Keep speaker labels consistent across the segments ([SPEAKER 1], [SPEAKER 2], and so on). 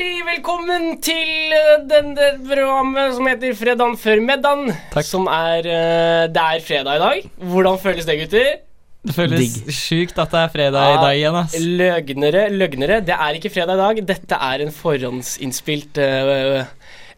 [SPEAKER 1] Velkommen til eh, denne programmet som heter Fredagen før middagen.
[SPEAKER 2] Takk.
[SPEAKER 1] Som er eh, Det er fredag i dag. Hvordan føles det, gutter?
[SPEAKER 2] Det føles
[SPEAKER 3] Digg.
[SPEAKER 2] sjukt at det er fredag i
[SPEAKER 1] Ja.
[SPEAKER 2] dag igjen, ass.
[SPEAKER 1] Løgnere, løgnere. Det er ikke fredag i dag. Dette er en forhåndsinnspilt eh,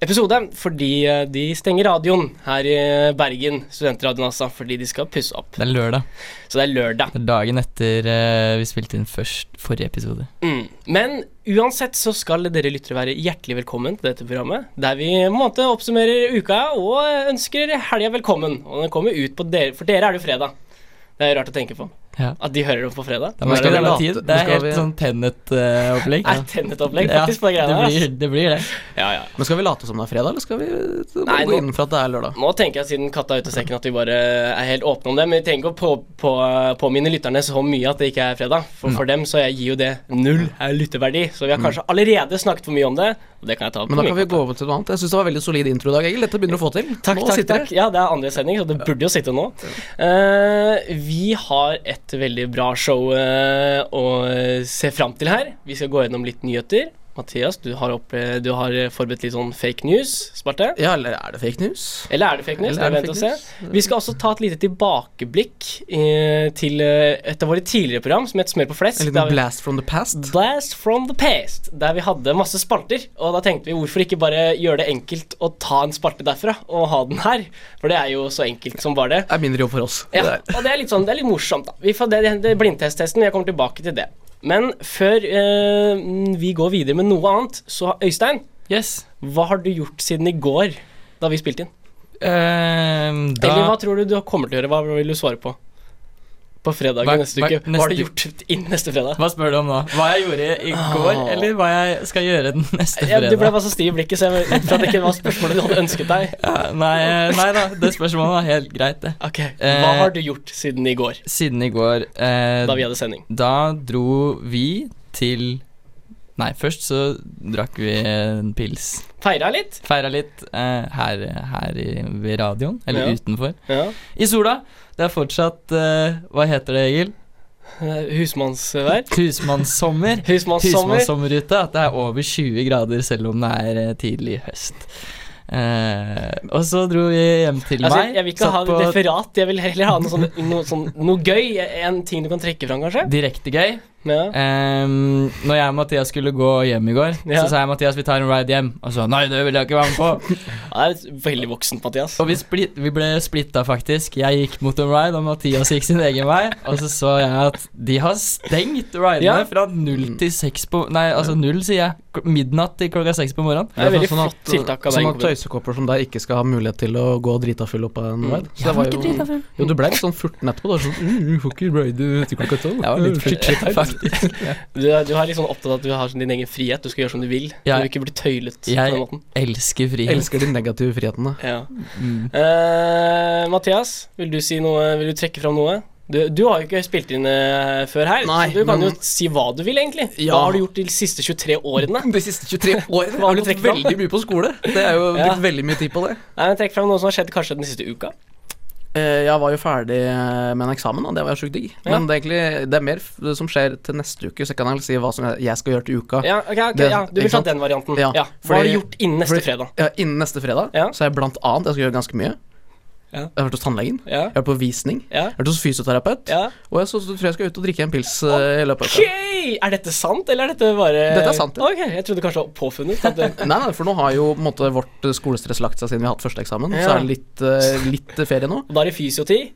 [SPEAKER 1] episode fordi eh, de stenger radioen her i Bergen. Studentradioen, altså. Fordi de skal pusse opp.
[SPEAKER 2] Det er lørdag.
[SPEAKER 1] Så det er lørdag.
[SPEAKER 2] Det er dagen etter eh, vi spilte inn først forrige episode.
[SPEAKER 1] Mm. Men uansett så skal dere lyttere være hjertelig velkommen til dette programmet, der vi på en måte oppsummerer uka og ønsker helga velkommen. Og den kommer ut på dere, for dere er det jo fredag. Det er rart å tenke på.
[SPEAKER 2] Ja.
[SPEAKER 1] At de hører det på fredag.
[SPEAKER 2] Det er,
[SPEAKER 3] skal vi
[SPEAKER 2] det,
[SPEAKER 3] late-
[SPEAKER 2] tid.
[SPEAKER 3] nå
[SPEAKER 2] det er
[SPEAKER 3] skal
[SPEAKER 2] helt
[SPEAKER 3] vi-
[SPEAKER 2] sånn Tennet-opplegg.
[SPEAKER 1] Er tennet-opplegg faktisk på de
[SPEAKER 2] det
[SPEAKER 1] greiene her.
[SPEAKER 2] blir,
[SPEAKER 1] ass.
[SPEAKER 2] det blir det.
[SPEAKER 1] Ja, ja.
[SPEAKER 3] Men skal vi late som det er fredag, eller skal vi eh,
[SPEAKER 1] Nei,
[SPEAKER 3] gå
[SPEAKER 1] nå-
[SPEAKER 3] inn for at det er lørdag?
[SPEAKER 1] Nå tenker jeg siden katta er ute av sekken at vi bare er helt åpne om det. Men vi trenger ikke å på, på, påminne lytterne så mye at det ikke er fredag.
[SPEAKER 3] Mm.
[SPEAKER 1] For for dem så jeg gir jo det null er lytteverdi. Så vi har kanskje allerede snakket for mye om det. Og det kan jeg ta på
[SPEAKER 3] Men da
[SPEAKER 1] min
[SPEAKER 3] kan vi gå over til noe annet. Jeg syns det var veldig solid intro i dag, Egil. Dette begynner du å få til.
[SPEAKER 1] Takk,
[SPEAKER 3] Nå
[SPEAKER 1] takk,
[SPEAKER 3] sitter
[SPEAKER 1] takk. Ja, det er andre sending, så det burde jo sitte nå. Eh, vi har et veldig bra show eh, å se fram til her. Vi skal gå gjennom litt nyheter. Mathias, du har, opp, eh, du har forberedt litt sånn fake news, Sparte.
[SPEAKER 3] det. Ja, eller er det fake news?
[SPEAKER 1] Eller er det fake news?
[SPEAKER 3] Eller er
[SPEAKER 1] Det
[SPEAKER 3] det
[SPEAKER 1] er
[SPEAKER 3] fake
[SPEAKER 1] vent og se. Vi skal også ta et lite tilbakeblikk eh, til eh, et av våre tidligere program som het Smør på flesk.
[SPEAKER 3] En
[SPEAKER 1] der vi-
[SPEAKER 3] liten blast from the past?
[SPEAKER 1] Blast from the past, der vi hadde masse spalter. Og da tenkte vi hvorfor ikke bare gjøre det enkelt å ta en spalte derfra og ha den her? For det er jo så enkelt som bare det.
[SPEAKER 3] Det er mindre jobb for oss.
[SPEAKER 1] Ja,
[SPEAKER 3] Det er-
[SPEAKER 1] og det er litt sånn, det er litt morsomt, da. Vi får det, det er blindtesttesten, jeg kommer tilbake til det. Men før eh, vi går videre med noe annet, så Øystein,
[SPEAKER 2] Yes.
[SPEAKER 1] hva har du gjort siden i går? Da vi spilte inn.
[SPEAKER 2] Ehm, da
[SPEAKER 1] Eller hva tror du du kommer til å gjøre? Hva vil du svare på? På fredag
[SPEAKER 2] Hva-
[SPEAKER 1] neste
[SPEAKER 2] hva-
[SPEAKER 1] uke. Hva har du
[SPEAKER 2] neste-
[SPEAKER 1] gjort innen neste fredag?
[SPEAKER 2] Hva spør du om nå? Hva jeg gjorde i går,
[SPEAKER 3] Åh.
[SPEAKER 2] eller hva jeg skal gjøre den neste
[SPEAKER 1] Ja,
[SPEAKER 2] fredag?
[SPEAKER 1] du ble bare så stiv i blikket, så jeg var- ut fra at det ikke var spørsmålet du hadde ønsket deg.
[SPEAKER 2] Ja, nei, eh, nei da, det spørsmålet var helt greit, det.
[SPEAKER 1] Ok, Hva
[SPEAKER 2] Eh,
[SPEAKER 1] har du gjort siden i går,
[SPEAKER 2] Siden i går eh,
[SPEAKER 1] da vi hadde sending?
[SPEAKER 2] Da dro vi til Nei, først så drakk vi en pils.
[SPEAKER 1] Feira litt?
[SPEAKER 2] Feira litt eh, her, her i, ved radioen, eller
[SPEAKER 1] Ja.
[SPEAKER 2] utenfor.
[SPEAKER 1] Ja.
[SPEAKER 2] I sola. Det er fortsatt eh, Hva heter det, Egil?
[SPEAKER 1] Eh, Husmannsvær?
[SPEAKER 2] Husmannssommer.
[SPEAKER 1] Husmannssommer?
[SPEAKER 2] Husmannssommer ute. At det er over 20 grader selv om det er eh, tidlig høst. Eh, og så dro vi hjem til
[SPEAKER 1] Altså,
[SPEAKER 2] meg.
[SPEAKER 1] jeg vil ikke
[SPEAKER 2] satt
[SPEAKER 1] ha et
[SPEAKER 2] på
[SPEAKER 1] referat, jeg vil heller ha noe, sånn, noe, sånn, noe gøy. En ting du kan trekke fram, kanskje?
[SPEAKER 2] Direktegøy.
[SPEAKER 1] Ja.
[SPEAKER 2] Um, når jeg og Mathias skulle gå hjem i går,
[SPEAKER 1] Ja.
[SPEAKER 2] så sa jeg Mathias vi tar en ride hjem. Og så nei, det vil jeg ikke være med på.
[SPEAKER 1] Ja, det er veldig voksen, Mathias.
[SPEAKER 2] og vi, split, vi ble splitta, faktisk. Jeg gikk mot en ride, og Mathias gikk sin egen vei. Og så så jeg at de har stengt ridene
[SPEAKER 1] Ja.
[SPEAKER 2] fra null til seks på Nei, altså null, sier jeg. Kl- Midnatt til klokka seks på morgenen.
[SPEAKER 1] Det er veldig
[SPEAKER 3] sånn at-
[SPEAKER 1] flott tiltak av
[SPEAKER 3] Sånn
[SPEAKER 1] Bergen
[SPEAKER 3] at
[SPEAKER 1] kommune.
[SPEAKER 3] tøysekopper som deg ikke skal ha mulighet til å gå drita full opp av en
[SPEAKER 1] Mm.
[SPEAKER 3] ride.
[SPEAKER 2] Jeg
[SPEAKER 3] Så det var
[SPEAKER 2] var ikke drita
[SPEAKER 3] jo
[SPEAKER 2] full.
[SPEAKER 3] Jo, du ble litt sånn 14 etterpå. Da. Sånn, uh, du får ikke ride til klokka tolv.
[SPEAKER 2] Jeg var litt
[SPEAKER 3] Shit, shit,
[SPEAKER 2] full, faktisk.
[SPEAKER 1] Du, er- du er litt sånn opptatt av at du har sånn din egen frihet, du skal gjøre som du vil.
[SPEAKER 2] Jeg-
[SPEAKER 1] Du vil ikke bli tøylet
[SPEAKER 2] jeg-
[SPEAKER 1] på den måten.
[SPEAKER 2] Elsker
[SPEAKER 3] Jeg
[SPEAKER 2] frihet.
[SPEAKER 3] elsker de negative frihetene.
[SPEAKER 1] Ja.
[SPEAKER 2] Mm.
[SPEAKER 1] Eh, Mathias, vil du si noe? Vil du trekke fram noe? Du, du har jo ikke spilt inn eh, før her,
[SPEAKER 3] Nei,
[SPEAKER 1] så du kan
[SPEAKER 3] men-
[SPEAKER 1] jo si hva du vil, egentlig. Hva
[SPEAKER 3] Ja.
[SPEAKER 1] har du gjort de siste 23 årene?
[SPEAKER 3] De siste 23 årene
[SPEAKER 1] Hva
[SPEAKER 3] har
[SPEAKER 1] vil du
[SPEAKER 3] du gått
[SPEAKER 1] trekke fram?
[SPEAKER 3] veldig mye på skole. Det er jo
[SPEAKER 1] Ja.
[SPEAKER 3] brukt veldig mye tid på det.
[SPEAKER 1] Nei, men Trekk fram noe som har skjedd kanskje den siste uka.
[SPEAKER 3] Eh, Jeg var jo ferdig eh, med en eksamen, og det var jo sjukt digg.
[SPEAKER 1] Ja.
[SPEAKER 3] Men det er egentlig det er mer f- det som skjer til neste uke, så jeg kan heller si hva som jeg- jeg skal gjøre til uka.
[SPEAKER 1] Ja, ok, ok,
[SPEAKER 3] Det-
[SPEAKER 1] ja Du vil
[SPEAKER 3] ikke
[SPEAKER 1] ta
[SPEAKER 3] sant?
[SPEAKER 1] den varianten. Ja,
[SPEAKER 3] Ja,
[SPEAKER 1] Hva har du
[SPEAKER 3] fordi-
[SPEAKER 1] gjort innen neste
[SPEAKER 3] fordi-
[SPEAKER 1] fredag?
[SPEAKER 3] Ja, innen neste fredag
[SPEAKER 1] Ja.
[SPEAKER 3] så er jeg blant annet Jeg skal gjøre ganske mye.
[SPEAKER 1] Ja.
[SPEAKER 3] Jeg har vært hos tannlegen.
[SPEAKER 1] Ja,
[SPEAKER 3] Jeg har vært på visning.
[SPEAKER 1] ja,
[SPEAKER 3] Jeg har vært hos fysioterapeut.
[SPEAKER 1] ja.
[SPEAKER 3] Og jeg så, så tror jeg skal ut og drikke en pils eh, i løpet av
[SPEAKER 1] Ok!
[SPEAKER 3] uka.
[SPEAKER 1] Er dette sant, eller er dette bare
[SPEAKER 3] Dette er sant, ja.
[SPEAKER 1] Ok, Jeg trodde kanskje det var påfunnet. At det...
[SPEAKER 3] Nei, nei, for nå har jo på en måte, vårt eh, skolestress lagt seg siden vi har hatt første eksamen. Så
[SPEAKER 1] Ja.
[SPEAKER 3] er det litt, eh, litt eh, ferie nå.
[SPEAKER 1] Og da er det fysioti.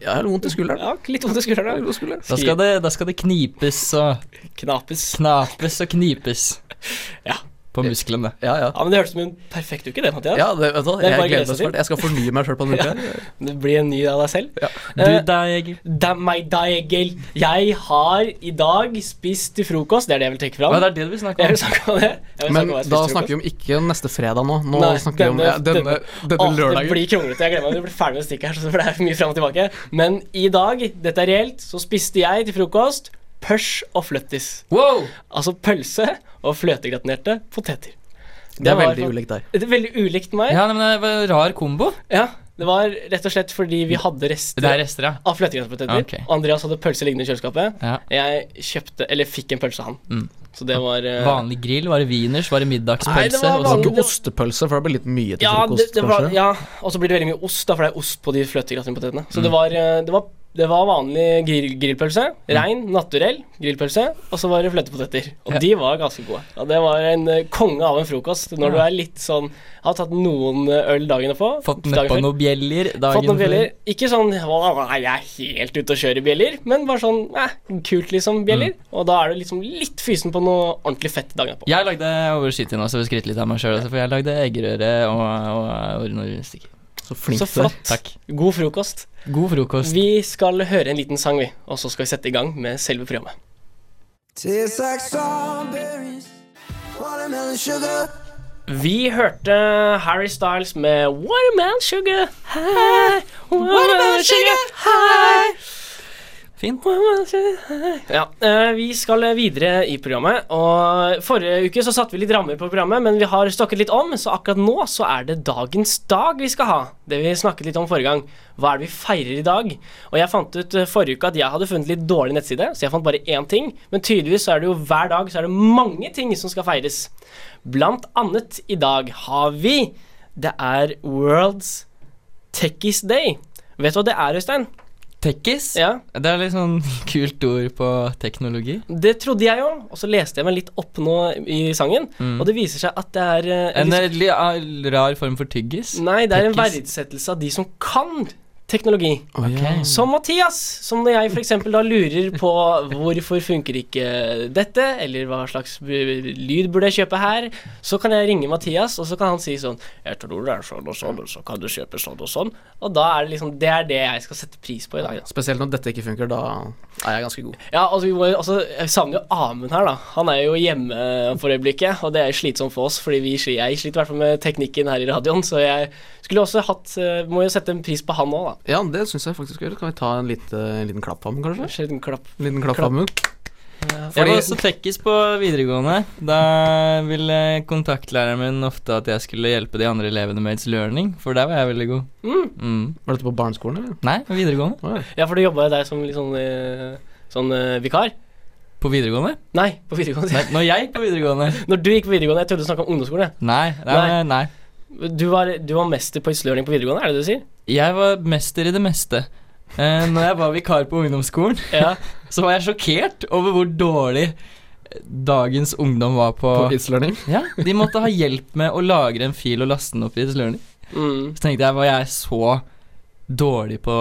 [SPEAKER 3] Jeg har vondt i skulderen.
[SPEAKER 1] Ja, litt vondt i skulderen.
[SPEAKER 3] Vondt i skulderen.
[SPEAKER 2] Da skal, det, da skal det knipes og
[SPEAKER 1] da. Knapes.
[SPEAKER 2] knapes og knipes
[SPEAKER 1] Ja.
[SPEAKER 2] på musklene.
[SPEAKER 3] Ja, ja.
[SPEAKER 1] Ja, men Det hørtes ut som en perfekt uke, det, Mathias.
[SPEAKER 3] Ja, det, vet du, hva,
[SPEAKER 1] Det er
[SPEAKER 3] jeg
[SPEAKER 1] bare å glede
[SPEAKER 3] gleder meg
[SPEAKER 1] seg til.
[SPEAKER 3] snart. Jeg skal fornye meg sjøl på en uke.
[SPEAKER 1] Det blir en ny av deg selv.
[SPEAKER 2] Du
[SPEAKER 1] Eh,
[SPEAKER 2] da, Egil?
[SPEAKER 1] Det er meg da, Egil. Jeg har i dag spist til frokost. Det er det jeg vil trekke fram.
[SPEAKER 2] Hva, det er det du vil snakke
[SPEAKER 1] Jeg
[SPEAKER 2] om?
[SPEAKER 1] vil snakke om det. Jeg vil
[SPEAKER 3] Men
[SPEAKER 1] snakke om hva jeg
[SPEAKER 3] da
[SPEAKER 1] spiste til
[SPEAKER 3] snakker vi om ikke neste fredag nå. Nå
[SPEAKER 1] Nei,
[SPEAKER 3] snakker vi om
[SPEAKER 1] denne-
[SPEAKER 3] ja, denne, denne
[SPEAKER 1] Åh, Det
[SPEAKER 3] lørdagen.
[SPEAKER 1] blir kronglete. Jeg gleder meg. Du blir ferdig med stikket her. så For det er mye frem og tilbake Men i dag, dette er reelt, så spiste jeg til frokost pørs og fløttis.
[SPEAKER 2] Wow!
[SPEAKER 1] Altså pølse og fløtegratinerte poteter.
[SPEAKER 3] Det er
[SPEAKER 1] var
[SPEAKER 3] veldig
[SPEAKER 1] fan-
[SPEAKER 3] ulikt deg.
[SPEAKER 1] Det er veldig ulikt meg.
[SPEAKER 2] Ja, nei, men det var en rar kombo.
[SPEAKER 1] Ja. Det var rett og slett fordi vi hadde
[SPEAKER 2] Det er
[SPEAKER 1] rester
[SPEAKER 2] rester, ja.
[SPEAKER 1] av fløtegrøtpoteter.
[SPEAKER 2] Ok.
[SPEAKER 1] Og Andreas hadde pølse liggende i kjøleskapet.
[SPEAKER 2] ja.
[SPEAKER 1] Jeg kjøpte, eller fikk en pølse av han.
[SPEAKER 2] Mm.
[SPEAKER 1] Så det var eh,
[SPEAKER 2] Vanlig grill, var det wieners, var det
[SPEAKER 1] Nei, det
[SPEAKER 2] middagspølse?
[SPEAKER 1] var vanlig-
[SPEAKER 2] og så-
[SPEAKER 1] det
[SPEAKER 3] Ikke
[SPEAKER 1] var-
[SPEAKER 3] Altså, ostepølse, for det blir litt mye til
[SPEAKER 1] Ja, det,
[SPEAKER 3] frokost,
[SPEAKER 1] det var,
[SPEAKER 3] kanskje.
[SPEAKER 1] ja, og så blir det veldig mye ost, da, for det er ost på de fløtegratinpotetene. Så
[SPEAKER 2] Mm.
[SPEAKER 1] det, var, eh, det, var, det var vanlig grill, grillpølse. Rein, naturell grillpølse. Og så var det fløtepoteter. Og
[SPEAKER 2] Ja.
[SPEAKER 1] de var ganske gode. Og det var en eh, konge av en frokost. Når du
[SPEAKER 2] Ja.
[SPEAKER 1] er litt sånn Har tatt noen eh, øl dagen på.
[SPEAKER 2] Fått
[SPEAKER 1] dagen
[SPEAKER 2] nedpå
[SPEAKER 1] før.
[SPEAKER 2] noen bjeller dagen
[SPEAKER 1] Fått noen
[SPEAKER 2] før.
[SPEAKER 1] bjeller. Ikke sånn «Å, nei, 'jeg er helt ute og kjører bjeller', men bare sånn eh, kult, liksom, bjeller.
[SPEAKER 2] Mm.
[SPEAKER 1] Og da er du liksom litt fysen på noe ordentlig fett dagen etterpå.
[SPEAKER 2] Jeg lagde over skyting nå, så vi skryter litt av meg sjøl. For jeg lagde eggerøre og, og, og noen rundstykker.
[SPEAKER 3] Så flink
[SPEAKER 1] Så
[SPEAKER 3] du er.
[SPEAKER 1] flott.
[SPEAKER 2] Takk.
[SPEAKER 1] God frokost.
[SPEAKER 2] God frokost.
[SPEAKER 1] Vi skal høre en liten sang, vi, og så skal vi sette i gang med selve programmet.
[SPEAKER 4] Tastes like strawberries, watermelon sugar.
[SPEAKER 1] Vi hørte Harry Styles med Watermelon Sugar. Hi, watermelon sugar. Hi.
[SPEAKER 2] Fint.
[SPEAKER 1] Watermelon sugar, hi. Ja, eh, Vi skal videre i programmet. og Forrige uke så satte vi litt rammer på programmet, men vi har stokket litt om, så akkurat nå så er det dagens dag vi skal ha. Det vi snakket litt om forrige gang. Hva er det vi feirer i dag? Og jeg fant ut eh, forrige uke at jeg hadde funnet litt dårlig nettside, så jeg fant bare én ting. Men tydeligvis så er det jo hver dag så er det mange ting som skal feires. Blant annet i dag har vi Det er World's Techies Day. Vet du hva det er, Øystein?
[SPEAKER 2] Tekkis.
[SPEAKER 1] Ja,
[SPEAKER 2] Det er litt sånn kult ord på teknologi.
[SPEAKER 1] Det trodde jeg jo, og så leste jeg meg litt opp nå i sangen, og det viser seg at det er eh,
[SPEAKER 2] Mm. En
[SPEAKER 1] liksom-
[SPEAKER 2] litt ah, rar form for tyggis.
[SPEAKER 1] Nei, det er en
[SPEAKER 2] Techies.
[SPEAKER 1] verdsettelse av de som kan teknologi.
[SPEAKER 3] Å, ja.
[SPEAKER 2] Ok.
[SPEAKER 1] Som Mathias, som når jeg f.eks. da lurer på hvorfor funker ikke dette, eller hva slags b- b- lyd burde jeg kjøpe her, så kan jeg ringe Mathias, og så kan han si sånn Jeg tror det er sånn og sånn, og så kan du kjøpe sånn og sånn. Og da er det liksom Det er det jeg skal sette pris på i dag. Da.
[SPEAKER 3] Spesielt når dette ikke funker, da er jeg ganske god.
[SPEAKER 1] Ja, altså, vi må, jo- altså, jeg savner jo Amund her, da. Han er jo hjemme eh, for øyeblikket, og det er slitsomt for oss, fordi vi, sli- jeg sliter i hvert fall med teknikken her i radioen, så jeg skulle også hatt eh, Må jo sette en pris på han òg, da.
[SPEAKER 3] Ja, det syns jeg faktisk vi gjør. Kan vi ta en, lite, en liten klapp på ham, kanskje?
[SPEAKER 1] Kanskje en klapp.
[SPEAKER 3] En liten klapp på ham.
[SPEAKER 2] Jeg var
[SPEAKER 3] Fordi-
[SPEAKER 2] også tekkis på videregående. Da ville kontaktlæreren min ofte at jeg skulle hjelpe de andre elevene med its learning, for der var jeg veldig god. Mm.
[SPEAKER 3] Var dette på barneskolen, eller?
[SPEAKER 2] Nei, videregående.
[SPEAKER 3] Å, ja.
[SPEAKER 1] Ja, for du jobba jo der som litt sånn, eh, sånn eh, vikar?
[SPEAKER 2] På videregående?
[SPEAKER 1] Nei, på videregående.
[SPEAKER 2] Nei, når jeg gikk på videregående.
[SPEAKER 1] Når du gikk på videregående, jeg trodde du snakka om ungdomsskolen. jeg.
[SPEAKER 2] Nei, nei,
[SPEAKER 1] Nei.
[SPEAKER 2] nei.
[SPEAKER 1] Du var, du var mester på isolering på videregående, er det det du sier?
[SPEAKER 2] Jeg var mester i det meste. Eh, når jeg var vikar på ungdomsskolen,
[SPEAKER 1] Ja.
[SPEAKER 2] så var jeg sjokkert over hvor dårlig eh, dagens ungdom var på,
[SPEAKER 3] På It's Learning.
[SPEAKER 2] Ja, De måtte ha hjelp med å lagre en fil og laste den opp i It's Learning.
[SPEAKER 1] Mm.
[SPEAKER 2] Så tenkte jeg, var jeg så dårlig på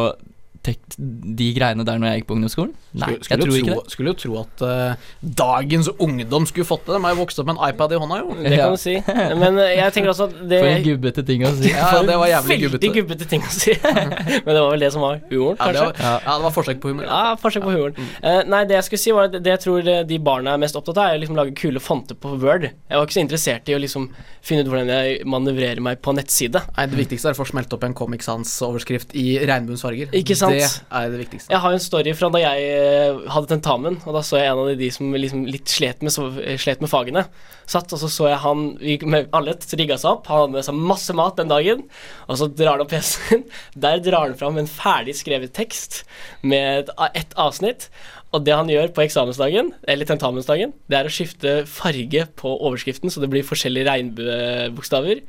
[SPEAKER 2] tek de greiene der når jeg gikk på ungdomsskolen? Nei,
[SPEAKER 3] Skulle,
[SPEAKER 2] jeg
[SPEAKER 3] skulle,
[SPEAKER 2] tror
[SPEAKER 3] jo
[SPEAKER 2] ikke
[SPEAKER 3] tro,
[SPEAKER 2] det.
[SPEAKER 3] skulle jo tro at eh, dagens ungdom skulle fått det. De har jo vokst opp med en iPad i hånda, jo.
[SPEAKER 1] Det
[SPEAKER 2] Ja.
[SPEAKER 1] kan du si. Men eh, jeg tenker også at det
[SPEAKER 2] For en gubbete ting å si.
[SPEAKER 3] Ja, det var jævlig
[SPEAKER 1] Veldig
[SPEAKER 3] gubbete.
[SPEAKER 1] gubbete ting å si. Men det var vel det som var humoren,
[SPEAKER 3] Ja, det
[SPEAKER 1] kanskje.
[SPEAKER 3] var, ja, det var forsøk på humor.
[SPEAKER 1] Ja, forsøk på humoren. Eh, nei, det jeg skulle si var at det jeg tror eh, de barna er mest opptatt av, er å liksom lage kule fonter på Word. Jeg var ikke så interessert i å liksom finne ut hvordan jeg manøvrerer meg på nettside.
[SPEAKER 3] Nei, Det viktigste er å få smelt opp en Comic Sans-overskrift i regnbuens farger.
[SPEAKER 1] Ikke sant?
[SPEAKER 3] Det er det viktigste.
[SPEAKER 1] Jeg har jo en story fra da jeg eh, hadde tentamen, og da så jeg en av de som liksom litt slet med, så, eh, slet med fagene. Satt, og så så jeg han vi- med alle rigga seg opp, han hadde med seg masse mat den dagen. Og så drar han opp PC-en. Der drar han fram en ferdig skrevet tekst med et, a- ett avsnitt. Og det han gjør på eksamensdagen, eller tentamensdagen, det er å skifte farge på overskriften, så det blir forskjellige regnbuebokstaver.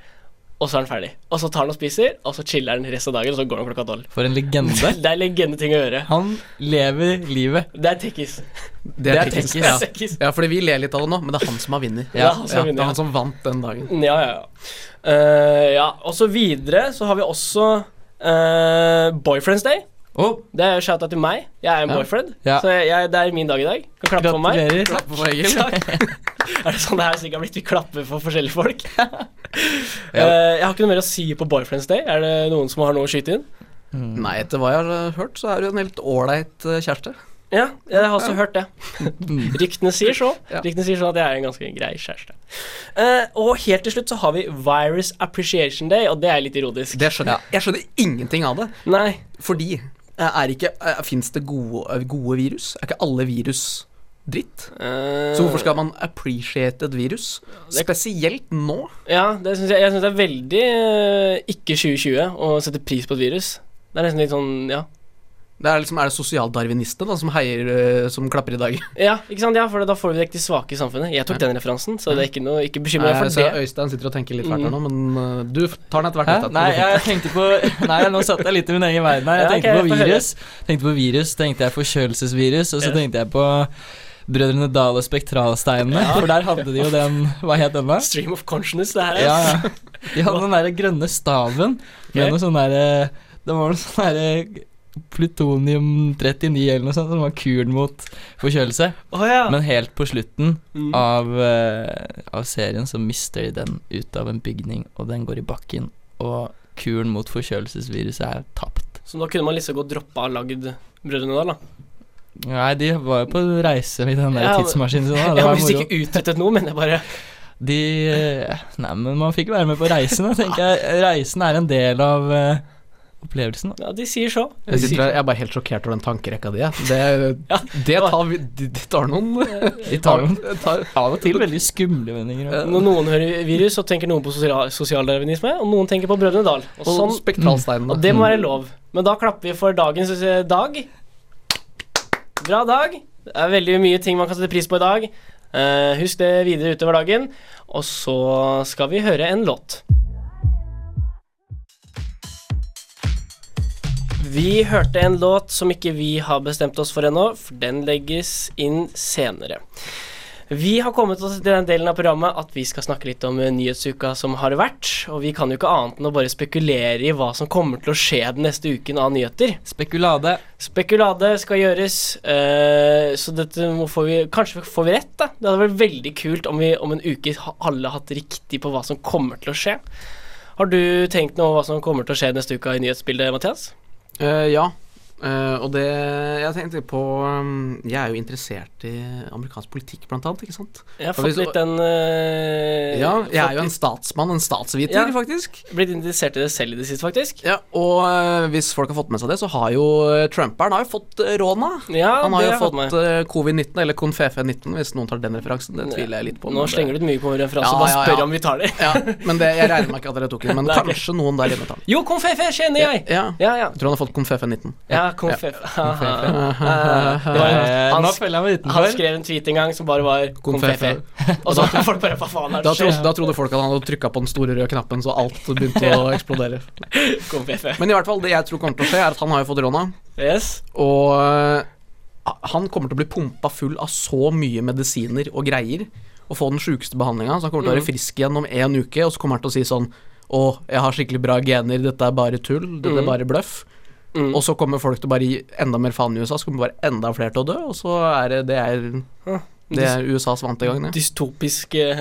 [SPEAKER 1] Og så er han ferdig. Og så tar han og spiser, og så chiller han resten av dagen, og så går han klokka tolv.
[SPEAKER 2] For en legende.
[SPEAKER 1] Det er legendeting å gjøre.
[SPEAKER 2] Han lever livet.
[SPEAKER 1] Det er tekkis.
[SPEAKER 3] Det er
[SPEAKER 2] tekkes,
[SPEAKER 3] tekkes.
[SPEAKER 1] Det
[SPEAKER 3] Ja.
[SPEAKER 1] er tekkis.
[SPEAKER 3] ja, fordi vi ler litt av det nå, men det er han som har vunnet.
[SPEAKER 1] Ja, han som har vunnet,
[SPEAKER 3] det
[SPEAKER 1] ja.
[SPEAKER 3] er han som vant den dagen.
[SPEAKER 1] Mm, Ja, ja, ja. Eh, ja. Og så videre så har vi også eh, Boyfriends Day.
[SPEAKER 2] Oh,
[SPEAKER 1] Det er shout-out til meg. Jeg er en
[SPEAKER 3] Ja.
[SPEAKER 1] boyfriend,
[SPEAKER 2] Ja.
[SPEAKER 1] så jeg, jeg, det er min dag i dag. Kan klappe for meg.
[SPEAKER 2] gratulerer.
[SPEAKER 3] Klapp på Egil.
[SPEAKER 1] Er det sånn det her sikkert har blitt? Vi klapper for forskjellige folk. Eh, jeg har ikke noe mer å si på Boyfriends Day. Er det noen som har noe å skyte inn?
[SPEAKER 3] Nei, etter hva jeg har eh, hørt, så er du en helt ålreit eh, kjæreste.
[SPEAKER 1] Ja, jeg har også hørt det.
[SPEAKER 2] Mm.
[SPEAKER 1] Ryktene sier så.
[SPEAKER 3] Ja.
[SPEAKER 1] Ryktene sier så at jeg er en ganske grei kjæreste. Eh, og helt til slutt så har vi Virus Appreciation Day, og det er litt ironisk.
[SPEAKER 3] Det skjønner jeg. Jeg skjønner ingenting av det.
[SPEAKER 1] Nei.
[SPEAKER 3] eh, Fordi eh, er ikke Fins det gode, gode virus? Er ikke alle virus dritt.
[SPEAKER 1] Eh,
[SPEAKER 3] Så hvorfor skal man appreciate et virus?
[SPEAKER 1] det-
[SPEAKER 3] Spesielt nå.
[SPEAKER 1] Eh, Ja, det synes jeg, jeg syns det er veldig eh, ikke 2020 å sette pris på et virus. Det er nesten litt sånn Ja,
[SPEAKER 3] Det er liksom, er det sosialdarwinistene da, som heier, eh, som klapper i dag?
[SPEAKER 1] ja ikke sant? Ja, for da får vi vekk de svake i samfunnet. Jeg tok den referansen, så det er ikke noe Ikke bekymre deg
[SPEAKER 3] Nei,
[SPEAKER 1] for
[SPEAKER 3] Eh, så
[SPEAKER 1] det. Mm.
[SPEAKER 3] Øystein sitter og tenker litt fælt her nå, men eh, du tar den etter hvert.
[SPEAKER 2] Hæ?
[SPEAKER 3] Øystein.
[SPEAKER 2] Nei, jeg tenkte på Nei, nå satt jeg litt i min egen verden her. Jeg
[SPEAKER 1] Ja,
[SPEAKER 2] tenkte
[SPEAKER 1] ok, få
[SPEAKER 2] på
[SPEAKER 1] høre.
[SPEAKER 2] virus, tenkte på virus, tenkte jeg forkjølelsesvirus, og så
[SPEAKER 1] Ja.
[SPEAKER 2] tenkte jeg på Brødrene Dal og Spektralsteinene, for der hadde de jo den Hva het den, da?
[SPEAKER 1] Stream of consciousness, det her.
[SPEAKER 2] Ja, ja. De hadde den derre grønne staven med
[SPEAKER 1] Ok.
[SPEAKER 2] noe sånn derre Det var noe sånn derre plutonium 39 eller noe sånt som var kuren mot forkjølelse.
[SPEAKER 1] Å, ja.
[SPEAKER 2] Men helt på slutten
[SPEAKER 1] Mm.
[SPEAKER 2] av, eh, av serien så mister de den ut av en bygning, og den går i bakken, og kuren mot forkjølelsesviruset er tapt.
[SPEAKER 1] Så da kunne man liksom godt droppa lagd Brødrene Dal, da.
[SPEAKER 2] Nei, de var jo på reise i den der
[SPEAKER 1] Ja, men-
[SPEAKER 2] tidsmaskinen sin, da. Det
[SPEAKER 1] Jeg har
[SPEAKER 2] var
[SPEAKER 1] visst
[SPEAKER 2] moro.
[SPEAKER 1] ikke utrettet noe, men jeg bare
[SPEAKER 2] De eh, Nei, men man fikk være med på reisen, da, tenker jeg. Reisen er en del av eh, opplevelsen, da.
[SPEAKER 1] Ja, de sier så.
[SPEAKER 3] Jeg, sitter, her- jeg er bare helt sjokkert over den tankerekka di. jeg. Det,
[SPEAKER 1] Ja,
[SPEAKER 3] det tar, vi- de, de tar noen
[SPEAKER 2] De tar jo
[SPEAKER 3] tar,
[SPEAKER 2] av og til veldig skumle vendinger. altså. da.
[SPEAKER 1] Når Eh, noen hører virus, så tenker noen på sosial- sosialdarwinisme, og noen tenker på Brødrene Dal. Og,
[SPEAKER 3] Og
[SPEAKER 1] sånn,
[SPEAKER 3] sånn
[SPEAKER 1] og
[SPEAKER 3] spektralsteinene.
[SPEAKER 1] det må være lov. Men da klapper vi for dagens eh, dag. Bra dag. Det er veldig mye ting man kan sette pris på i dag. Eh, husk det videre utover dagen. Og så skal vi høre en låt. Vi hørte en låt som ikke vi har bestemt oss for ennå, for den legges inn senere. Vi har kommet oss til den delen av programmet at vi skal snakke litt om eh, nyhetsuka som har vært. Og vi kan jo ikke annet enn å bare spekulere i hva som kommer til å skje den neste uken av nyheter.
[SPEAKER 2] Spekulade.
[SPEAKER 1] Spekulade skal gjøres, eh, så dette må får vi Kanskje får vi rett, da. Det hadde vært veldig kult om vi om en uke ha- alle hatt riktig på hva som kommer til å skje. Har du tenkt noe om hva som kommer til å skje neste uke i nyhetsbildet, Mathias?
[SPEAKER 3] Eh, ja. Eh, og det Jeg tenkte på um, Jeg er jo interessert i amerikansk politikk, blant annet. Ikke sant?
[SPEAKER 1] Jeg har
[SPEAKER 3] Og hvis-
[SPEAKER 1] fått litt den eh,
[SPEAKER 3] Ja, jeg
[SPEAKER 1] fått
[SPEAKER 3] er jo en
[SPEAKER 1] litt-
[SPEAKER 3] statsmann, en statsviter,
[SPEAKER 1] Ja.
[SPEAKER 3] faktisk.
[SPEAKER 1] Blitt interessert i det selv i det siste, faktisk.
[SPEAKER 3] Ja, og eh, hvis folk har fått med seg det, så har jo eh, Trumperen har jo fått eh, råna.
[SPEAKER 1] Ja, det
[SPEAKER 3] Han har jo
[SPEAKER 1] jeg
[SPEAKER 3] fått
[SPEAKER 1] med.
[SPEAKER 3] eh, covid-19, eller konfefe-19, hvis noen tar den referansen. Det tviler jeg litt på.
[SPEAKER 1] Nå
[SPEAKER 3] men det-
[SPEAKER 1] slenger du ut mye på referanse,
[SPEAKER 3] Ja,
[SPEAKER 1] bare
[SPEAKER 3] ja,
[SPEAKER 1] spør
[SPEAKER 3] ja.
[SPEAKER 1] om vi tar det.
[SPEAKER 3] Ja, men det, jeg regner meg ikke at dere tok den, men
[SPEAKER 1] Nei, ok.
[SPEAKER 3] kanskje noen der hjemme tar den.
[SPEAKER 1] Jo, konfefe kjenner jeg!
[SPEAKER 3] Ja.
[SPEAKER 1] Ja, ja.
[SPEAKER 3] Jeg tror han har fått konfefe 19.
[SPEAKER 1] ja Eh, konfefe.
[SPEAKER 3] Det var en-
[SPEAKER 1] han-
[SPEAKER 2] Eh, nå føler jeg meg
[SPEAKER 1] Han
[SPEAKER 2] utenfor.
[SPEAKER 1] skrev en tweet en gang som bare var konfefe. Og så hadde folk bare Hva faen er
[SPEAKER 3] Da
[SPEAKER 1] det som
[SPEAKER 3] trodde, da trodde folk at han hadde trykka på den store røde knappen, så alt begynte å eksplodere.
[SPEAKER 1] skjer? Konfefe.
[SPEAKER 3] Men i hvert fall, det jeg tror kommer til å skje, er at han har jo fått råna,
[SPEAKER 1] Yes.
[SPEAKER 3] og eh, han kommer til å bli pumpa full av så mye medisiner og greier, og få den sjukeste behandlinga, så han kommer til
[SPEAKER 1] Mm.
[SPEAKER 3] å være frisk igjen om én uke, og så kommer han til å si sånn Å, jeg har skikkelig bra gener, dette er bare tull, dette
[SPEAKER 1] Mm.
[SPEAKER 3] er bare bløff.
[SPEAKER 1] Mm.
[SPEAKER 3] Og så kommer folk til å bare gi enda mer faen i USA, så kommer bare enda flere til å dø, og så er det Det er, det er USAs vante gang, det.
[SPEAKER 1] Dystopisk eh,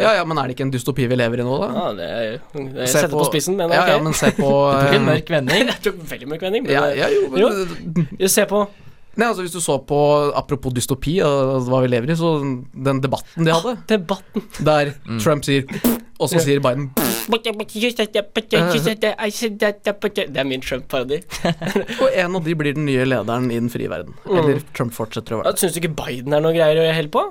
[SPEAKER 3] Ja ja, men er det ikke en dystopi vi lever i nå, da?
[SPEAKER 1] ja, det er jo det
[SPEAKER 3] Se
[SPEAKER 1] Setter på,
[SPEAKER 3] på-
[SPEAKER 1] spissen, men ok.
[SPEAKER 3] Ja ja, men se på
[SPEAKER 2] Det tok en
[SPEAKER 3] eh,
[SPEAKER 2] mørk vending.
[SPEAKER 1] Jeg tok veldig mørk vending. Men
[SPEAKER 3] ja, ja, jo, men,
[SPEAKER 1] Jo. Jo, se på
[SPEAKER 3] Nei, altså Hvis du så på Apropos dystopi og hva vi lever i, så den debatten de hadde,
[SPEAKER 1] debatten.
[SPEAKER 3] der
[SPEAKER 1] Mm.
[SPEAKER 3] Trump sier og så sier Biden
[SPEAKER 1] Det er min Trump-parodi.
[SPEAKER 3] Og en av de blir den nye lederen i den frie verden.
[SPEAKER 1] Mm.
[SPEAKER 3] Eller Trump fortsetter å være det.
[SPEAKER 1] Syns du ikke Biden er noe greier å holde på?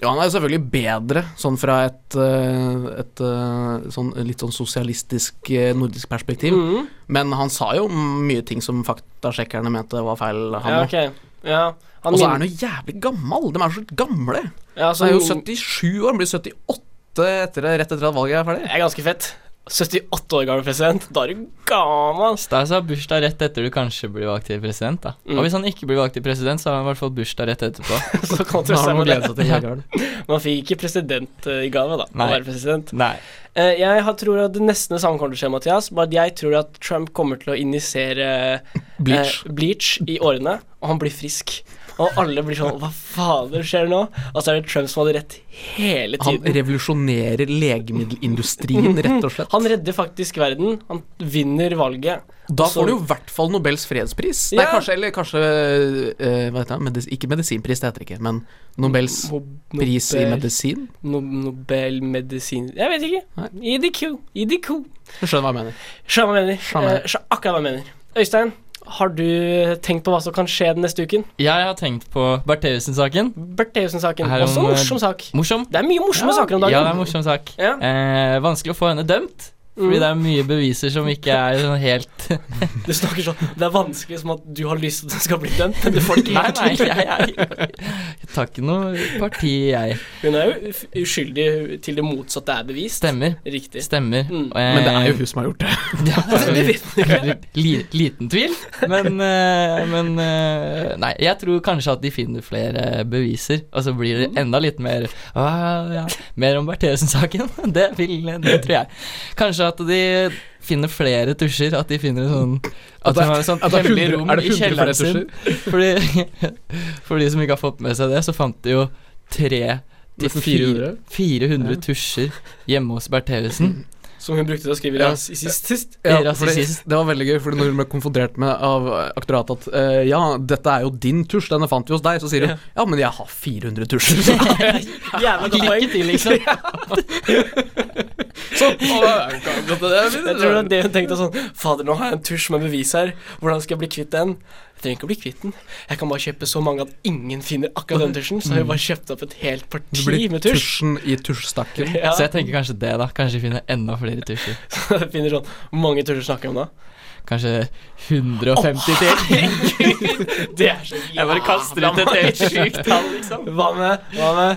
[SPEAKER 3] Ja, han er jo selvfølgelig bedre sånn fra et, eh, et eh, sånn litt sånn sosialistisk eh, nordisk perspektiv.
[SPEAKER 1] Mm.
[SPEAKER 3] Men han sa jo mye ting som faktasjekkerne mente var feil. Han
[SPEAKER 1] Ja,
[SPEAKER 3] også.
[SPEAKER 1] ok. Ja. Han
[SPEAKER 3] Og så
[SPEAKER 1] min-
[SPEAKER 3] er han jo jævlig gammel! De er så gamle!
[SPEAKER 1] ja, så
[SPEAKER 3] Han er jo
[SPEAKER 1] min-
[SPEAKER 3] 77 år, han blir 78 etter, rett etter at valget er ferdig.
[SPEAKER 1] Det er ganske fett. 78 år gammel president. Da er du gammel. ass.
[SPEAKER 2] Stas har bursdag rett etter du kanskje blir valgt til president. da
[SPEAKER 1] Mm.
[SPEAKER 2] Og hvis han ikke blir valgt til president, så har han i hvert fall bursdag rett etterpå.
[SPEAKER 1] Så kan du
[SPEAKER 3] Da har
[SPEAKER 1] se med
[SPEAKER 3] han noe å glede
[SPEAKER 1] det.
[SPEAKER 3] seg til. Jørgen.
[SPEAKER 1] Man fikk ikke president eh, i gave, da. Å
[SPEAKER 2] Nei.
[SPEAKER 1] være president.
[SPEAKER 2] Nei.
[SPEAKER 1] Eh, Jeg har- tror at det nesten det samme kommer til å skje, Mathias. Bare at jeg tror at Trump kommer til å injisere eh,
[SPEAKER 3] Bleach.
[SPEAKER 1] bleach i årene, og han blir frisk. Og alle blir sånn Hva fader skjer nå? Og så er det Trump som hadde rett hele
[SPEAKER 3] Han
[SPEAKER 1] tiden.
[SPEAKER 3] revolusjonerer legemiddelindustrien, rett og slett.
[SPEAKER 1] Han redder faktisk verden. Han vinner valget.
[SPEAKER 3] Da
[SPEAKER 1] så-
[SPEAKER 3] får du jo i hvert fall Nobels fredspris. Nei,
[SPEAKER 1] Ja.
[SPEAKER 3] kanskje, eller kanskje eh, hva heter det? Medis Ikke medisinpris, det heter det ikke, men Nobels pris i
[SPEAKER 1] Nobel-
[SPEAKER 3] medisin.
[SPEAKER 1] no Nobelmedisin Jeg vet ikke. IDQ. IDQ.
[SPEAKER 3] Du skjønner hva jeg mener.
[SPEAKER 1] Skjønner hva jeg mener.
[SPEAKER 3] Skjønner.
[SPEAKER 1] Eh, skjø- akkurat hva jeg mener. Øystein, Har du tenkt på hva som kan skje den neste uken?
[SPEAKER 2] Jeg har tenkt på Bertheussen-saken.
[SPEAKER 1] Bertheussen-saken.
[SPEAKER 2] Her om,
[SPEAKER 1] Også en
[SPEAKER 2] eh,
[SPEAKER 1] morsom sak.
[SPEAKER 2] Morsom.
[SPEAKER 1] Det er mye morsomme saker om dagen.
[SPEAKER 2] Ja, det er en morsom sak.
[SPEAKER 1] Ja. Mm.
[SPEAKER 2] Eh, vanskelig å få henne dømt. Fordi det er mye beviser som ikke er sånn helt
[SPEAKER 1] Du snakker sånn Det er vanskelig som at du har lyst til at den skal bli dømt, men du får det ikke
[SPEAKER 2] Nei,
[SPEAKER 1] helt
[SPEAKER 2] nei,
[SPEAKER 1] til.
[SPEAKER 2] jeg, jeg, jeg tar ikke noe parti, jeg.
[SPEAKER 1] Hun er jo uf- uskyldig til det motsatte er bevist.
[SPEAKER 2] Stemmer.
[SPEAKER 1] Riktig.
[SPEAKER 2] Stemmer.
[SPEAKER 1] Mm.
[SPEAKER 2] Eh,
[SPEAKER 3] Men det er jo hun som har gjort det.
[SPEAKER 2] ja,
[SPEAKER 1] Det vet vi ikke.
[SPEAKER 2] li, liten tvil, men, eh, men eh, Nei, jeg tror kanskje at de finner flere beviser, og så blir det enda litt mer ah, ja, Mer om Bertheussen-saken. Det, vil- det tror jeg. Kanskje at de finner flere tusjer, at de finner en sånn At de har et sånt
[SPEAKER 3] at det er
[SPEAKER 2] hemmelig
[SPEAKER 3] 100
[SPEAKER 2] rom
[SPEAKER 3] er det
[SPEAKER 2] i
[SPEAKER 3] 100
[SPEAKER 2] kjelleren
[SPEAKER 3] flere
[SPEAKER 2] sin. Fordi, for de som ikke har fått med seg det, så fant de jo tre
[SPEAKER 1] Eh,
[SPEAKER 2] til
[SPEAKER 3] Nesten
[SPEAKER 2] fire-
[SPEAKER 3] 400.
[SPEAKER 2] 400 tusjer hjemme hos Bertheussen.
[SPEAKER 1] Som hun brukte til å skrive
[SPEAKER 3] Ja.
[SPEAKER 1] ras- sist. sist.
[SPEAKER 3] Ja,
[SPEAKER 2] Rasist.
[SPEAKER 3] fordi, det var veldig gøy, Fordi når hun ble konfrontert med av aktoratet at eh, ja, dette er jo din tusj, denne fant vi hos deg, så sier hun ja, men jeg har 400 tusjer. Så,
[SPEAKER 1] Jævla godt poeng.
[SPEAKER 2] Lykke til, liksom.
[SPEAKER 3] så, å,
[SPEAKER 1] Jeg tror det var det hun tenkte sånn Fader, nå har jeg en tusj med bevis her. Hvordan skal jeg bli kvitt den? Jeg trenger ikke å bli kvitt den. Jeg kan bare kjøpe så mange at ingen finner akkurat den tusjen. Så har hun bare kjøpt opp et helt
[SPEAKER 3] det
[SPEAKER 1] parti
[SPEAKER 3] blir
[SPEAKER 1] med tusj.
[SPEAKER 3] tusjen i tusjstakken.
[SPEAKER 1] Ja.
[SPEAKER 2] Så jeg tenker kanskje det, da. Kanskje vi finner enda flere tusjer.
[SPEAKER 1] Finner sånn Hvor mange tusjer snakker vi om da?
[SPEAKER 2] Kanskje 150 til.
[SPEAKER 1] Det er så jævla
[SPEAKER 2] bare kaster ut et helt
[SPEAKER 1] sjukt tall, liksom. Hva med, hva med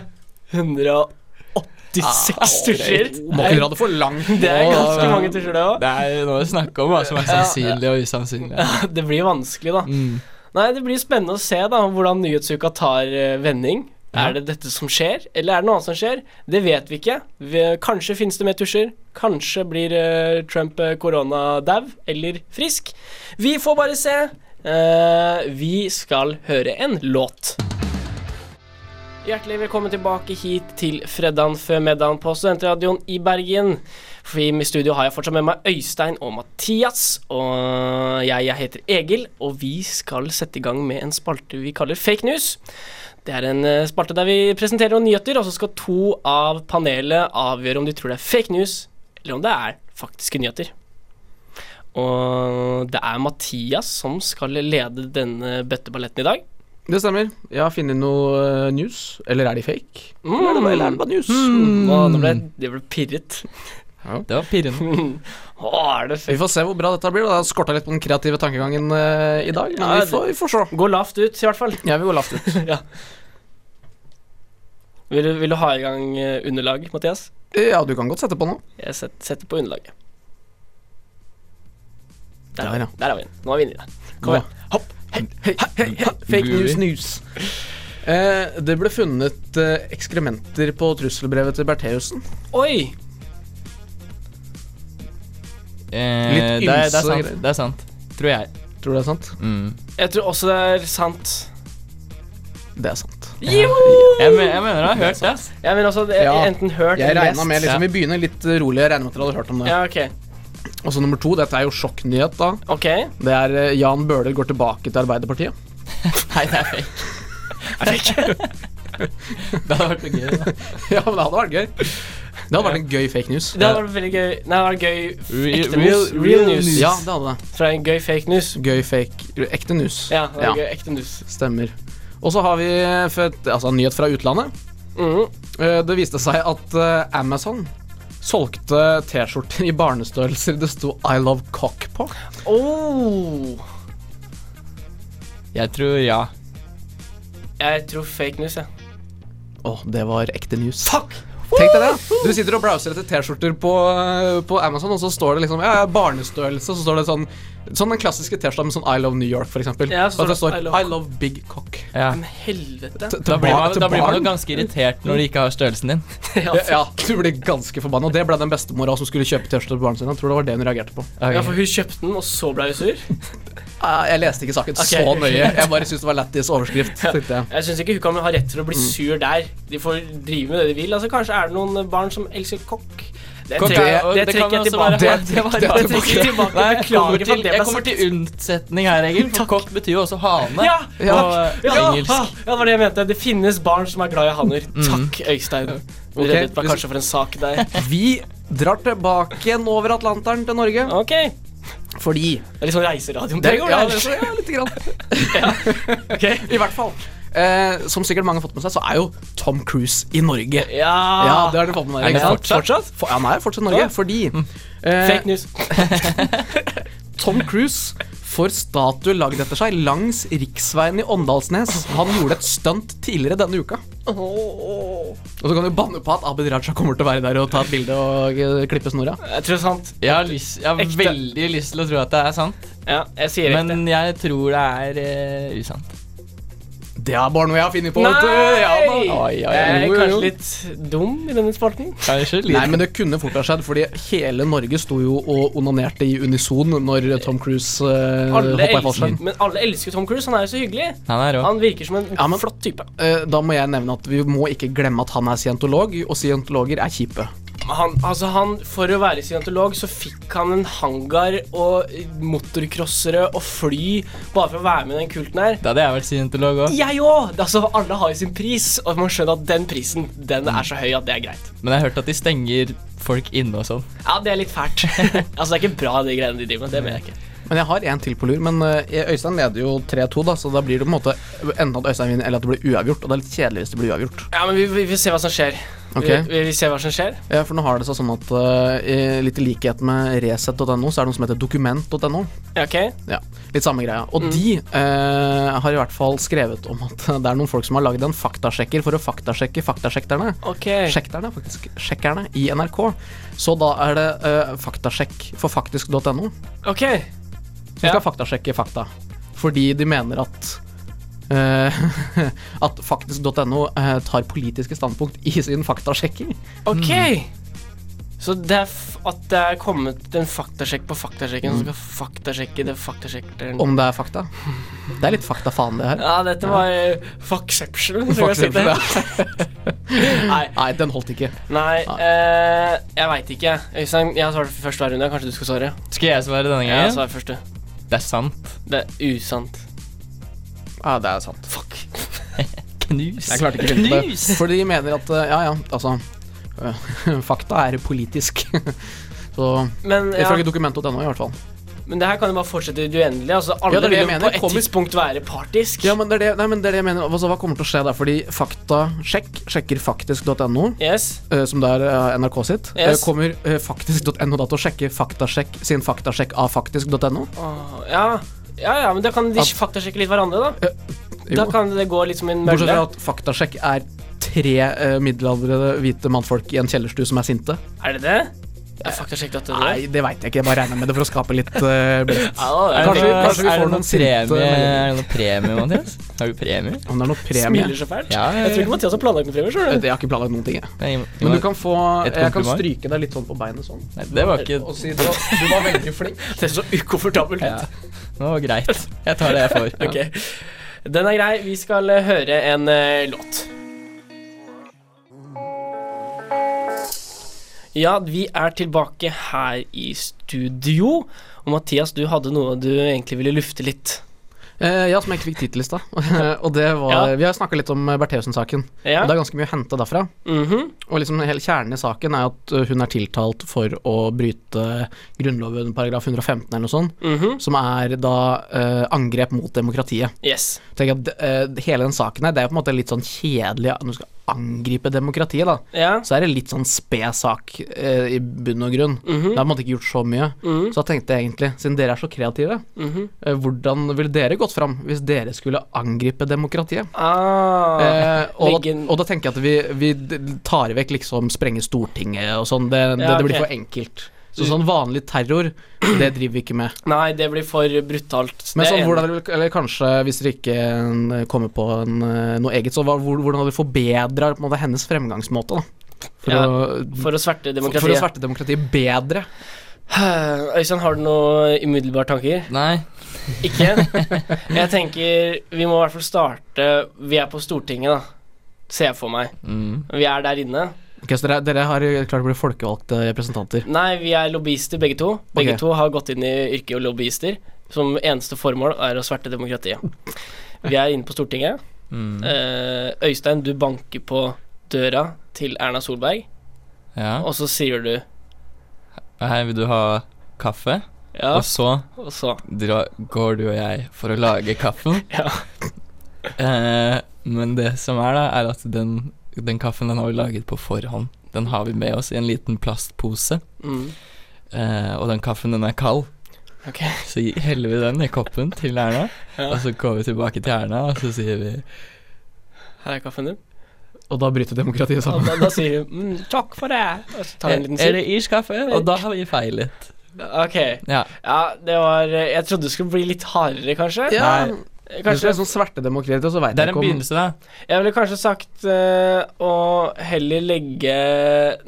[SPEAKER 1] 186 tusjer?
[SPEAKER 3] Må ikke dra det for langt.
[SPEAKER 1] Det er
[SPEAKER 2] Å,
[SPEAKER 1] ganske
[SPEAKER 2] ja.
[SPEAKER 1] mange tusjer, det òg.
[SPEAKER 2] Det er noe å snakke om, hva som er sannsynlig og usannsynlig.
[SPEAKER 1] Det blir vanskelig, da.
[SPEAKER 2] Mm.
[SPEAKER 1] Nei, Det blir spennende å se da hvordan nyhetsuka tar eh, vending.
[SPEAKER 2] Ja.
[SPEAKER 1] Er det dette som skjer, eller er det noe annet som skjer? Det vet vi ikke. Vi, kanskje finnes det mer tusjer. Kanskje blir eh, Trump eh, koronadau eller frisk. Vi får bare se. Eh, vi skal høre en låt. Hjertelig velkommen tilbake hit til fredagen før middagen på Studentradioen i Bergen. For I studio har jeg fortsatt med meg Øystein og Mathias. Og jeg, jeg heter Egil, og vi skal sette i gang med en spalte vi kaller Fake news. Det er en eh, spalte der vi presenterer noen nyheter, og så skal to av panelet avgjøre om de tror det er fake news, eller om det er faktiske nyheter. Og det er Mathias som skal lede denne bøtteballetten i dag.
[SPEAKER 3] Det stemmer. Jeg har funnet noe eh, news. Eller er de fake?
[SPEAKER 1] Mm.
[SPEAKER 3] Eller er det bare- eller er det bare news?
[SPEAKER 1] Åh, nå ble det ble pirret.
[SPEAKER 2] Det var pirrende.
[SPEAKER 1] Å, er det
[SPEAKER 3] Vi
[SPEAKER 1] fake?
[SPEAKER 3] får se hvor bra dette blir. da. Det har skorta litt på den kreative tankegangen eh, i dag, men
[SPEAKER 1] Ja,
[SPEAKER 3] vi, får, vi får se.
[SPEAKER 1] Gå lavt ut, i hvert fall.
[SPEAKER 3] Jeg vil gå lavt ut.
[SPEAKER 1] Vil du, vil du ha i gang eh, underlag, Mathias?
[SPEAKER 3] Ja, du kan godt sette på nå.
[SPEAKER 1] Jeg set, setter på underlaget. Der,
[SPEAKER 3] Der,
[SPEAKER 1] er
[SPEAKER 3] ja.
[SPEAKER 1] vi. Der er vi. Nå er vi inne i det. Kom
[SPEAKER 3] Nå.
[SPEAKER 1] igjen. Hopp.
[SPEAKER 3] Hei, hei, hei, fake news, news. Eh, det ble funnet eh, ekskrementer på trusselbrevet til Bertheussen.
[SPEAKER 1] Oi!
[SPEAKER 2] Eh,
[SPEAKER 3] Litt
[SPEAKER 2] det, er, det,
[SPEAKER 3] ymse
[SPEAKER 2] er sant,
[SPEAKER 3] greier.
[SPEAKER 2] det er sant. Tror jeg.
[SPEAKER 3] Tror du det er sant?
[SPEAKER 2] Mm.
[SPEAKER 1] Jeg tror også det er sant.
[SPEAKER 3] Det er sant.
[SPEAKER 1] Joho!
[SPEAKER 2] Jeg, me- jeg mener du har hørt det. ass.
[SPEAKER 1] Jeg mener også altså, det, jeg,
[SPEAKER 3] Ja.
[SPEAKER 1] enten hørt
[SPEAKER 3] Jeg
[SPEAKER 1] eller
[SPEAKER 3] regna
[SPEAKER 1] lest.
[SPEAKER 3] med liksom,
[SPEAKER 2] Ja.
[SPEAKER 3] Vi begynner litt eh, rolig. Jeg regner med at dere hadde hørt om det.
[SPEAKER 1] Ja, ok.
[SPEAKER 3] Og så Altså, nummer to, dette er jo sjokknyhet, da.
[SPEAKER 1] Ok.
[SPEAKER 3] Det er eh, Jan Bøhler går tilbake til Arbeiderpartiet.
[SPEAKER 2] Nei, det er fake. Det hadde vært noe gøy. da.
[SPEAKER 3] ja, men det hadde vært gøy. Det hadde vært en gøy fake news.
[SPEAKER 1] Det hadde vært veldig gøy Nei, det hadde vært gøy
[SPEAKER 2] Real-
[SPEAKER 1] ekte news.
[SPEAKER 2] real-
[SPEAKER 1] Real
[SPEAKER 2] real
[SPEAKER 1] news.
[SPEAKER 2] news.
[SPEAKER 3] Ja, det hadde det.
[SPEAKER 1] Fra en gøy fake news.
[SPEAKER 3] Gøy fake Ekte news.
[SPEAKER 1] Ja, det
[SPEAKER 3] Ja.
[SPEAKER 1] er gøy ekte news.
[SPEAKER 3] Stemmer. Og så har vi eh, fått- altså, en nyhet fra utlandet.
[SPEAKER 1] Mm.
[SPEAKER 3] Eh, Det viste seg at eh, Amazon solgte T-skjorter i barnestørrelser det sto 'I love cock' på.
[SPEAKER 1] Oh.
[SPEAKER 2] Jeg tror ja.
[SPEAKER 1] Jeg tror fake news, jeg.
[SPEAKER 3] Å, det var ekte news.
[SPEAKER 1] Fuck!
[SPEAKER 3] Tenk deg det. Du sitter og browser etter T-skjorter på, eh, på Amazon, og så står det liksom ja, ja, barnestørrelse, og så står det sånn Sånn den klassiske T-skjorta med sånn 'I love New York', for eksempel.
[SPEAKER 1] Ja, så
[SPEAKER 3] og det
[SPEAKER 1] I
[SPEAKER 3] står 'I
[SPEAKER 1] love
[SPEAKER 3] love, big cock'.
[SPEAKER 2] ja.
[SPEAKER 1] Men helvete.
[SPEAKER 3] Til- til
[SPEAKER 2] Da blir
[SPEAKER 3] bar-
[SPEAKER 2] man,
[SPEAKER 3] til
[SPEAKER 2] da blir man
[SPEAKER 3] barn.
[SPEAKER 2] jo ganske irritert når de ikke har størrelsen din.
[SPEAKER 1] Ja,
[SPEAKER 3] ja, du blir ganske forbanna. Og det ble den bestemora som skulle kjøpe T-skjorter til barna sine. Jeg tror det var det hun reagerte på.
[SPEAKER 1] Ja, for hun kjøpte den, og så ble hun sur.
[SPEAKER 3] Eh, Jeg leste ikke saken så
[SPEAKER 1] Ok.
[SPEAKER 3] nøye. Jeg bare syntes det var lættis overskrift. tenkte jeg.
[SPEAKER 1] Jeg syns ikke hun kan ha rett til å bli sur der. De får drive med det de vil. Altså, Kanskje er det noen barn som elsker kokk. Det
[SPEAKER 2] Kokk,
[SPEAKER 1] trekker,
[SPEAKER 2] og
[SPEAKER 1] det
[SPEAKER 2] det kan
[SPEAKER 1] trekker jeg
[SPEAKER 2] også
[SPEAKER 1] tilbake.
[SPEAKER 2] være-
[SPEAKER 1] Det, var-
[SPEAKER 3] det er
[SPEAKER 1] jeg trekker
[SPEAKER 3] tilbake.
[SPEAKER 1] tilbake.
[SPEAKER 2] Nei, jeg
[SPEAKER 1] Beklager
[SPEAKER 2] kommer
[SPEAKER 1] for
[SPEAKER 2] til,
[SPEAKER 1] at det
[SPEAKER 2] jeg
[SPEAKER 1] ble
[SPEAKER 2] kommer
[SPEAKER 1] sagt.
[SPEAKER 2] til unnsetning her, Egil. For kokk betyr jo også
[SPEAKER 1] Ja!
[SPEAKER 2] hane
[SPEAKER 3] Ja.
[SPEAKER 2] på eh,
[SPEAKER 1] Ja, ah,
[SPEAKER 2] engelsk.
[SPEAKER 1] ja, det var det jeg mente. Det finnes barn som er glad i hanner. Takk, Øystein.
[SPEAKER 3] Ok,
[SPEAKER 1] Reddet meg
[SPEAKER 3] hvis-
[SPEAKER 1] kanskje for en sak der.
[SPEAKER 3] Vi drar tilbake igjen over Atlanteren til Norge.
[SPEAKER 1] Ok.
[SPEAKER 3] Fordi
[SPEAKER 1] Det er liksom reiseradioen.
[SPEAKER 3] det,
[SPEAKER 1] Prego,
[SPEAKER 3] ja,
[SPEAKER 1] det
[SPEAKER 3] det,
[SPEAKER 1] er-
[SPEAKER 3] ja, lite grann.
[SPEAKER 1] altså. Ok.
[SPEAKER 3] I hvert fall. Eh, som sikkert mange har fått med seg, så er jo Tom Cruise i Norge.
[SPEAKER 1] Ja,
[SPEAKER 3] Ja, det har dere fått med dere.
[SPEAKER 2] Er det
[SPEAKER 3] ikke sant?
[SPEAKER 2] fortsatt?
[SPEAKER 3] For, han er fortsatt i Norge,
[SPEAKER 1] Ja.
[SPEAKER 3] fordi eh,
[SPEAKER 1] Fake news.
[SPEAKER 3] Tom Cruise får statue lagd etter seg langs riksveien i Åndalsnes. Han gjorde et stunt tidligere denne uka. Og så kan du banne på at Abid Raja kommer til å være der og ta et bilde og eh, klippe snora.
[SPEAKER 1] Jeg tror det er sant.
[SPEAKER 2] Jeg har, lyst, jeg har
[SPEAKER 1] Ekte.
[SPEAKER 2] veldig lyst til å tro at det er sant,
[SPEAKER 1] Ja, jeg sier ekte.
[SPEAKER 2] men jeg tror det er eh, usant.
[SPEAKER 3] Det er bare noe jeg har funnet på. vet du. Ja, da.
[SPEAKER 1] Nei!
[SPEAKER 2] Oi, oi, oi.
[SPEAKER 1] Jeg er
[SPEAKER 3] Jo, jo, jo.
[SPEAKER 1] kanskje litt dum i denne spalten.
[SPEAKER 2] Kanskje litt.
[SPEAKER 3] Nei, men det kunne fort ha skjedd, fordi hele Norge sto jo og onanerte i unison når Tom Cruise uh,
[SPEAKER 1] Alle
[SPEAKER 3] hoppa i
[SPEAKER 1] elsker,
[SPEAKER 3] fallskjerm.
[SPEAKER 1] men alle elsker Tom Cruise. Han er jo så hyggelig.
[SPEAKER 2] Han er rå.
[SPEAKER 1] Han virker som en
[SPEAKER 3] Ja, men-
[SPEAKER 1] flott type.
[SPEAKER 3] Eh, da må jeg nevne at vi må ikke glemme at han er scientolog, og scientologer er kjipe.
[SPEAKER 1] Han, altså han, for å være scientolog så fikk han en hangar og motorcrossere og fly bare for å være med i den kulten her.
[SPEAKER 2] Da hadde jeg vært scientolog òg.
[SPEAKER 1] Jeg òg! Altså, alle har jo sin pris, og man skjønner at den prisen den er så høy at det er greit.
[SPEAKER 2] Men jeg har hørt at de stenger folk inne og sånn.
[SPEAKER 1] Ja, det er litt fælt. altså, det er ikke bra, de greiene de driver med. Det mener jeg ikke.
[SPEAKER 3] Men jeg har en til på lur, men eh, Øystein leder jo 3-2, da, så da blir det på en måte enten at Øystein vinner, eller at det blir uavgjort. Og det er litt kjedelig hvis det blir uavgjort.
[SPEAKER 1] Ja, men vi, vi, vi ser hva som skjer.
[SPEAKER 3] Ok.
[SPEAKER 1] Vi, vi, vi ser hva som skjer.
[SPEAKER 3] Eh, For nå har det seg sånn at eh, i- litt i likhet med resett.no, så er det noe som heter dokument.no.
[SPEAKER 1] Ja, Ok?
[SPEAKER 3] Ja, litt samme greia. Og de eh, har i hvert fall skrevet om at det er noen folk som har lagd en faktasjekker for å faktasjekke faktasjekterne.
[SPEAKER 1] Ok.
[SPEAKER 3] Sjekterne, faktisk. Sjekkerne i NRK. Så da er det eh, faktasjekk for faktisk.no som
[SPEAKER 1] Ok. Ja.
[SPEAKER 3] skal faktasjekke fakta. Fordi de mener at eh, at faktisk.no eh, tar politiske standpunkt i sin faktasjekking.
[SPEAKER 1] Ok.
[SPEAKER 3] Mm.
[SPEAKER 1] Så det er f at det er kommet en faktasjekk på faktasjekken som skal faktasjekke det faktasjekkeren
[SPEAKER 3] Mm. Om det er fakta. Det er litt fakta-faen, det her.
[SPEAKER 1] Ja, dette var eh, fuckception. tror jeg jeg sitter. Nei,
[SPEAKER 3] Nei, den holdt ikke.
[SPEAKER 1] nei eh, jeg veit ikke. Øystein, jeg svarte først hver runde. Kanskje du skal svare?
[SPEAKER 2] Skal jeg svare denne
[SPEAKER 1] Ja, jeg
[SPEAKER 2] gangen?
[SPEAKER 1] svarer først, du.
[SPEAKER 2] Det er sant.
[SPEAKER 1] Det er usant.
[SPEAKER 3] Ja, det er sant.
[SPEAKER 1] Fuck.
[SPEAKER 2] Knus.
[SPEAKER 3] Jeg klarte ikke å finne på
[SPEAKER 2] Knus!
[SPEAKER 3] det. For de mener at eh, Ja, ja, altså eh, Fakta er politisk. Så
[SPEAKER 1] Men, ja,
[SPEAKER 3] Ifølge dokument.no, i hvert fall.
[SPEAKER 1] men det her kan jo bare fortsette i det uendelige. Altså,
[SPEAKER 3] Ja,
[SPEAKER 1] alle
[SPEAKER 3] det er det jeg
[SPEAKER 1] vil jo
[SPEAKER 3] mener.
[SPEAKER 1] på et
[SPEAKER 3] Kommer-
[SPEAKER 1] tidspunkt være partisk.
[SPEAKER 3] Ja, men det er det, nei, men det er det jeg mener. Altså, hva kommer til å skje der? Fordi Faktasjekk sjekker faktisk.no,
[SPEAKER 1] Yes.
[SPEAKER 3] eh, som det er eh, NRK sitt. eh,
[SPEAKER 1] Yes.
[SPEAKER 3] Kommer eh, faktisk.no da til å sjekke Faktasjekk sin faktasjekk av faktisk.no?
[SPEAKER 1] Åh, ja. ja, ja, men da kan de
[SPEAKER 3] At-
[SPEAKER 1] faktasjekke litt hverandre, da. Da
[SPEAKER 3] Jo.
[SPEAKER 1] kan det gå litt som en
[SPEAKER 3] Bortsett
[SPEAKER 1] mølle.
[SPEAKER 3] fra at Faktasjekk er tre eh, middelaldrende hvite mannfolk i en kjellerstue som er sinte.
[SPEAKER 1] Er det det? Jeg faktasjekket at det var det.
[SPEAKER 3] Nei, det veit jeg ikke. Jeg bare regner med det for å skape litt eh, blest.
[SPEAKER 1] Ja, det
[SPEAKER 3] Kanskje-
[SPEAKER 2] noe-
[SPEAKER 3] kanskje vi
[SPEAKER 2] er det
[SPEAKER 3] får noen eh,
[SPEAKER 2] noen
[SPEAKER 3] sinte
[SPEAKER 2] premie,
[SPEAKER 3] meldinger.
[SPEAKER 2] er det noen premie, Mathias? Har du premie?
[SPEAKER 3] Om det er noe
[SPEAKER 1] er-
[SPEAKER 3] premie Eh,
[SPEAKER 1] smiler så fælt.
[SPEAKER 2] Ja, ja, ja.
[SPEAKER 1] Jeg tror ikke Mathias har planlagt noe fremover.
[SPEAKER 3] Jeg
[SPEAKER 1] skjønner
[SPEAKER 3] vet,
[SPEAKER 1] du.
[SPEAKER 3] Jeg har ikke planlagt noen ting, jeg.
[SPEAKER 2] Nei,
[SPEAKER 3] Men du kan få
[SPEAKER 2] Et
[SPEAKER 3] Jeg kan
[SPEAKER 2] kompliment?
[SPEAKER 3] stryke deg litt sånn på beinet sånn.
[SPEAKER 2] Nei, det var ikke
[SPEAKER 3] Og si du, var- du var veldig flink.
[SPEAKER 1] Det er så ukomfortabelt.
[SPEAKER 2] ja. Det var greit. Jeg tar det jeg får.
[SPEAKER 1] Ok. Den er grei. Vi skal eh, høre en eh, låt. Ja, vi er tilbake her i studio. Og Mathias, du hadde noe du egentlig ville lufte litt.
[SPEAKER 3] Eh, ja, som jeg ikke fikk tid til i stad. og det var
[SPEAKER 1] Ja.
[SPEAKER 3] Vi har snakka litt om eh, Bertheussen-saken.
[SPEAKER 1] Ja?
[SPEAKER 3] Og det er ganske mye å hente derfra.
[SPEAKER 1] Mhm.
[SPEAKER 3] Og liksom hele kjernen i saken er at eh, hun er tiltalt for å bryte Grunnloven paragraf 115 eller noe sånt,
[SPEAKER 1] mhm.
[SPEAKER 3] som er da eh, angrep mot demokratiet.
[SPEAKER 1] Yes.
[SPEAKER 3] Tenk at eh, Hele den saken her, det er jo på en måte litt sånn kjedelig at du skal angripe demokratiet, da.
[SPEAKER 1] Ja.
[SPEAKER 3] så er det litt sånn sped sak eh, i bunn og grunn. Det
[SPEAKER 1] Mhm.
[SPEAKER 3] har på en måte ikke gjort så mye.
[SPEAKER 1] Mhm.
[SPEAKER 3] Så da tenkte jeg egentlig, siden dere er så kreative,
[SPEAKER 1] Mhm.
[SPEAKER 3] eh, hvordan ville dere gått fram hvis dere skulle angripe demokratiet?
[SPEAKER 1] Ah.
[SPEAKER 3] Eh, og, da,
[SPEAKER 1] legge en-
[SPEAKER 3] og da tenker jeg at vi, vi d- tar vekk liksom sprenge Stortinget og sånn. Det, det,
[SPEAKER 1] Ja,
[SPEAKER 3] det blir
[SPEAKER 1] ok.
[SPEAKER 3] for enkelt. Så sånn vanlig terror, det driver vi ikke med.
[SPEAKER 1] Nei, det blir for brutalt. Det
[SPEAKER 3] Men
[SPEAKER 1] er
[SPEAKER 3] sånn,
[SPEAKER 1] jeg
[SPEAKER 3] hvordan, vil- eller kanskje hvis dere ikke eh, kommer på en, eh, noe eget, så hva- hvor- hvordan hadde vi forbedra på en måte, hennes fremgangsmåte? da? For,
[SPEAKER 1] Ja, enig i.
[SPEAKER 3] å,
[SPEAKER 1] for å sverte
[SPEAKER 3] for, for å
[SPEAKER 1] demokratiet.
[SPEAKER 3] sverte demokratiet bedre.
[SPEAKER 1] Øystein, har du noe umiddelbare tanker?
[SPEAKER 2] Nei.
[SPEAKER 1] Ikke? Jeg tenker vi må i hvert fall starte Vi er på Stortinget, da. Ser jeg for meg.
[SPEAKER 2] Mm.
[SPEAKER 1] Vi er der inne.
[SPEAKER 3] Ok, så dere, dere har klart å bli folkevalgte representanter.
[SPEAKER 1] Nei, vi er lobbyister begge to. Begge
[SPEAKER 3] Ok.
[SPEAKER 1] to har gått inn i yrket og lobbyister. Som eneste formål er å sverte demokratiet. Vi er inne på Stortinget.
[SPEAKER 2] Mm.
[SPEAKER 1] Eh, Øystein, du banker på døra til Erna Solberg,
[SPEAKER 2] Ja.
[SPEAKER 1] og så sier du
[SPEAKER 2] Hei, vil du ha kaffe?
[SPEAKER 1] Ja,
[SPEAKER 2] Og så
[SPEAKER 1] og så
[SPEAKER 2] dra, går du og jeg for å lage kaffen.
[SPEAKER 1] Ja.
[SPEAKER 2] Eh, men det som er, da, er at den, den kaffen den har vi laget på forhånd. Den har vi med oss i en liten plastpose,
[SPEAKER 1] mm.
[SPEAKER 2] eh, og den kaffen den er kald.
[SPEAKER 1] Ok.
[SPEAKER 2] Så gi- heller vi den i koppen til Erna,
[SPEAKER 1] Ja.
[SPEAKER 2] og så går vi tilbake til Erna, og så sier vi
[SPEAKER 1] Her er kaffen din.
[SPEAKER 3] Og da bryter demokratiet
[SPEAKER 1] Og
[SPEAKER 3] sammen.
[SPEAKER 1] da, da sier du mm, 'takk for det', og så tar du en liten
[SPEAKER 2] Er
[SPEAKER 1] sipp.
[SPEAKER 2] det iskaffe? Og da har vi feilet.
[SPEAKER 1] Ok.
[SPEAKER 2] Ja.
[SPEAKER 1] Ja, det var Jeg trodde det skulle bli litt hardere, kanskje.
[SPEAKER 3] Ja,
[SPEAKER 2] Nei.
[SPEAKER 3] Hvis det
[SPEAKER 1] Kanskje
[SPEAKER 3] er sånn svertedemokrati, så veit
[SPEAKER 2] Det er
[SPEAKER 3] jeg
[SPEAKER 2] en
[SPEAKER 3] ikke om
[SPEAKER 2] begynnelse, da.
[SPEAKER 1] Jeg ville kanskje sagt eh, å heller legge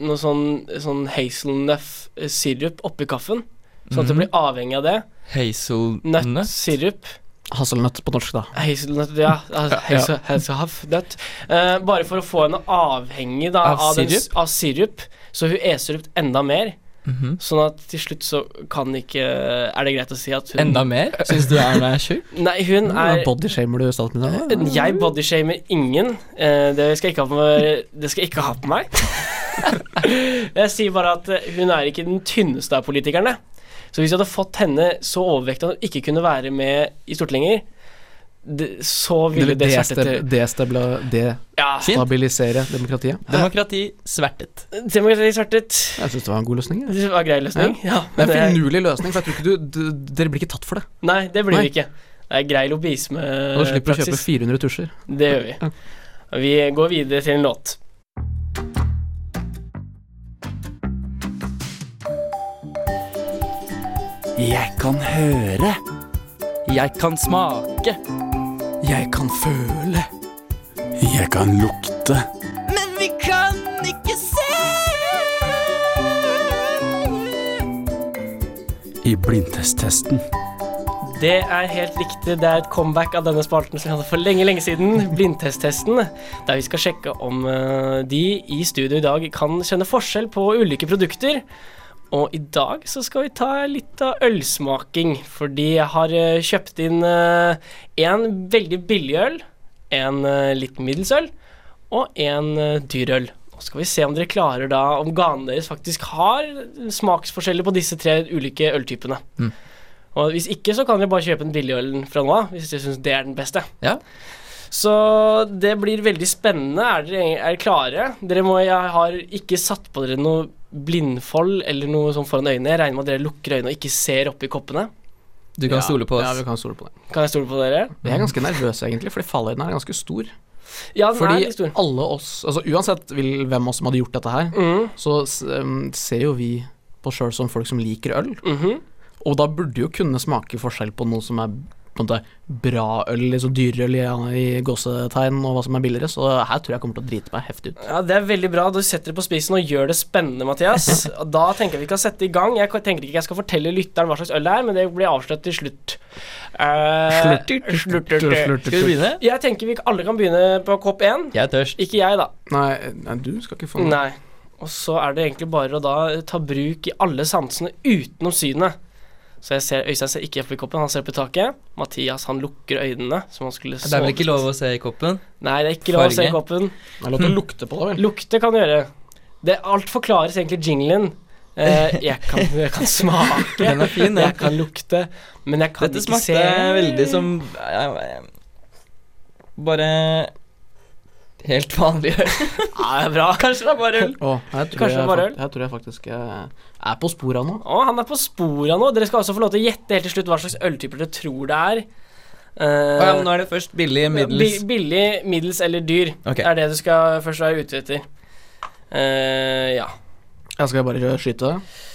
[SPEAKER 1] noe sånn, sånn hazelnøff-sirup oppi kaffen. Sånn at du
[SPEAKER 2] Mhm.
[SPEAKER 1] blir avhengig av det.
[SPEAKER 2] Hazelnøtt.
[SPEAKER 1] Nøtt-sirup.
[SPEAKER 3] hasselnøtt på norsk, da.
[SPEAKER 1] Hazelnut, ja. altså, hazel- Hazelhaffnøtt. Eh, bare for å få henne avhengig da,
[SPEAKER 2] Av
[SPEAKER 1] av, den s-
[SPEAKER 2] sirup?
[SPEAKER 1] av sirup, så hun eser ut enda mer.
[SPEAKER 2] Mhm.
[SPEAKER 1] Sånn at til slutt så kan ikke Er det greit å si at hun
[SPEAKER 2] Enda mer? Syns du Erna er sjuk?
[SPEAKER 1] Nei, hun er
[SPEAKER 3] Bodyshamer du
[SPEAKER 2] Eh,
[SPEAKER 3] statsministeren? nå?
[SPEAKER 1] Jeg bodyshamer ingen. Eh, Det skal jeg ikke ha på meg. Det skal jeg ikke ha på meg. jeg sier bare at eh, hun er ikke den tynneste av politikerne. Så hvis jeg hadde fått henne så overvektig at hun ikke kunne være med i Stortinget lenger, det- så ville
[SPEAKER 3] Det
[SPEAKER 1] det,
[SPEAKER 3] vil
[SPEAKER 1] svertet til
[SPEAKER 3] destabla-
[SPEAKER 1] Ja,
[SPEAKER 2] Fint.
[SPEAKER 3] destabilisere demokratiet.
[SPEAKER 2] Demokrati svertet.
[SPEAKER 1] demokrati svertet.
[SPEAKER 3] Jeg syns det var en god løsning. jeg.
[SPEAKER 1] Det var en grei løsning. Ja,
[SPEAKER 3] Det
[SPEAKER 1] men
[SPEAKER 3] er
[SPEAKER 1] det,
[SPEAKER 3] en finurlig løsning, for jeg tror ikke du, d- dere blir ikke tatt for det.
[SPEAKER 1] nei, det blir
[SPEAKER 3] Nei.
[SPEAKER 1] det ikke. Det er grei
[SPEAKER 2] Eh,
[SPEAKER 3] Og du slipper å kjøpe
[SPEAKER 1] lobbyismepraksis.
[SPEAKER 3] 400 tusjer.
[SPEAKER 1] Det gjør vi. Og Vi går videre til en låt.
[SPEAKER 5] Jeg kan høre. Jeg kan smake.
[SPEAKER 3] Jeg kan føle
[SPEAKER 5] Jeg kan lukte.
[SPEAKER 6] Men vi kan ikke se
[SPEAKER 5] I blindtesttesten.
[SPEAKER 1] Det er helt riktig. Det er et comeback av denne spalten som vi hadde for lenge lenge siden. Blindtesttesten. Der vi skal sjekke om eh, de i studio i dag kan kjenne forskjell på ulike produkter. Og i dag så skal vi ta litt av ølsmaking, fordi jeg har eh, kjøpt inn eh, en veldig billig øl, en eh, litt middels øl og en eh, dyr øl. Nå skal vi se om dere klarer da om ganene deres faktisk har smaksforskjeller på disse tre ulike øltypene. Og hvis ikke, så kan dere bare kjøpe den billige ølen fra nå av, hvis dere syns det er den beste.
[SPEAKER 2] Ja.
[SPEAKER 1] Så det blir veldig spennende. Er dere, er dere klare? Dere må, jeg har ikke satt på dere noe blindfold eller noe sånn foran øynene. Jeg regner med at dere lukker øynene og ikke ser oppi koppene.
[SPEAKER 2] Du kan stole på
[SPEAKER 3] Ja,
[SPEAKER 2] oss.
[SPEAKER 3] vi kan stole på det.
[SPEAKER 1] Kan jeg stole på dere?
[SPEAKER 3] Jeg er ganske nervøs, egentlig, fordi falløyden er ganske stor.
[SPEAKER 1] Ja, Altså, den er
[SPEAKER 3] Fordi
[SPEAKER 1] litt stor.
[SPEAKER 3] alle oss, altså uansett vil, hvem av oss som hadde gjort dette her,
[SPEAKER 1] Mm,
[SPEAKER 3] så s- um, ser jo vi på oss sjøl som folk som liker øl.
[SPEAKER 1] mhm.
[SPEAKER 3] Og da burde jo kunne smake forskjell på noe som er på en måte bra øl, liksom dyrøl i, i gåsetegn, og hva som er billigere, så her tror jeg kommer til å drite meg heftig ut.
[SPEAKER 1] Ja, Det er veldig bra. Du setter det på spisen og gjør det spennende, Mathias. Og da tenker jeg vi kan sette i gang. Jeg tenker ikke jeg skal fortelle lytteren hva slags øl det er, men det blir avslørt til slutt. Eh, slurter, slurter.
[SPEAKER 2] Skal vi begynne?
[SPEAKER 1] Jeg tenker vi alle kan begynne på kopp én.
[SPEAKER 2] Jeg er tørst.
[SPEAKER 1] Ikke jeg, da.
[SPEAKER 3] Nei, nei, du skal ikke få noe.
[SPEAKER 1] Nei. Og så er det egentlig bare å da ta bruk i alle sansene utenom synet. Så jeg ser, Øystein ser ikke oppi koppen, han ser opp i taket. Mathias han lukker øynene. Som han skulle
[SPEAKER 2] Det er vel ikke
[SPEAKER 1] sove.
[SPEAKER 2] lov å se i koppen?
[SPEAKER 1] Nei, det er ikke lov å se
[SPEAKER 2] Farge.
[SPEAKER 1] koppen.
[SPEAKER 3] Det er lov til å lukte på det, vel.
[SPEAKER 1] Lukte kan du gjøre. Det, alt forklares egentlig i jinglen. Eh, jeg, kan, jeg kan smake,
[SPEAKER 2] Den er fin,
[SPEAKER 1] jeg
[SPEAKER 2] den.
[SPEAKER 1] kan lukte, men jeg kan
[SPEAKER 2] Dette
[SPEAKER 1] ikke se
[SPEAKER 2] smakte veldig som eh, eh, Bare helt vanlig øl.
[SPEAKER 1] ja, det er bra. Kanskje det er bare
[SPEAKER 3] Å, her tror,
[SPEAKER 1] Kanskje det
[SPEAKER 3] jeg,
[SPEAKER 1] var
[SPEAKER 3] fak-
[SPEAKER 1] øl?
[SPEAKER 3] her tror jeg faktisk jeg er på sporet av noe.
[SPEAKER 1] Å, han er på sporet nå. Dere skal også få lov til å gjette helt til slutt hva slags øltyper dere tror det er. Eh,
[SPEAKER 2] Å ja, men nå er det først billig, middels
[SPEAKER 1] bi- Billig, middels eller dyr.
[SPEAKER 2] Ok.
[SPEAKER 1] Det er det du skal først være ute etter. Eh, ja.
[SPEAKER 3] Jeg skal bare skyte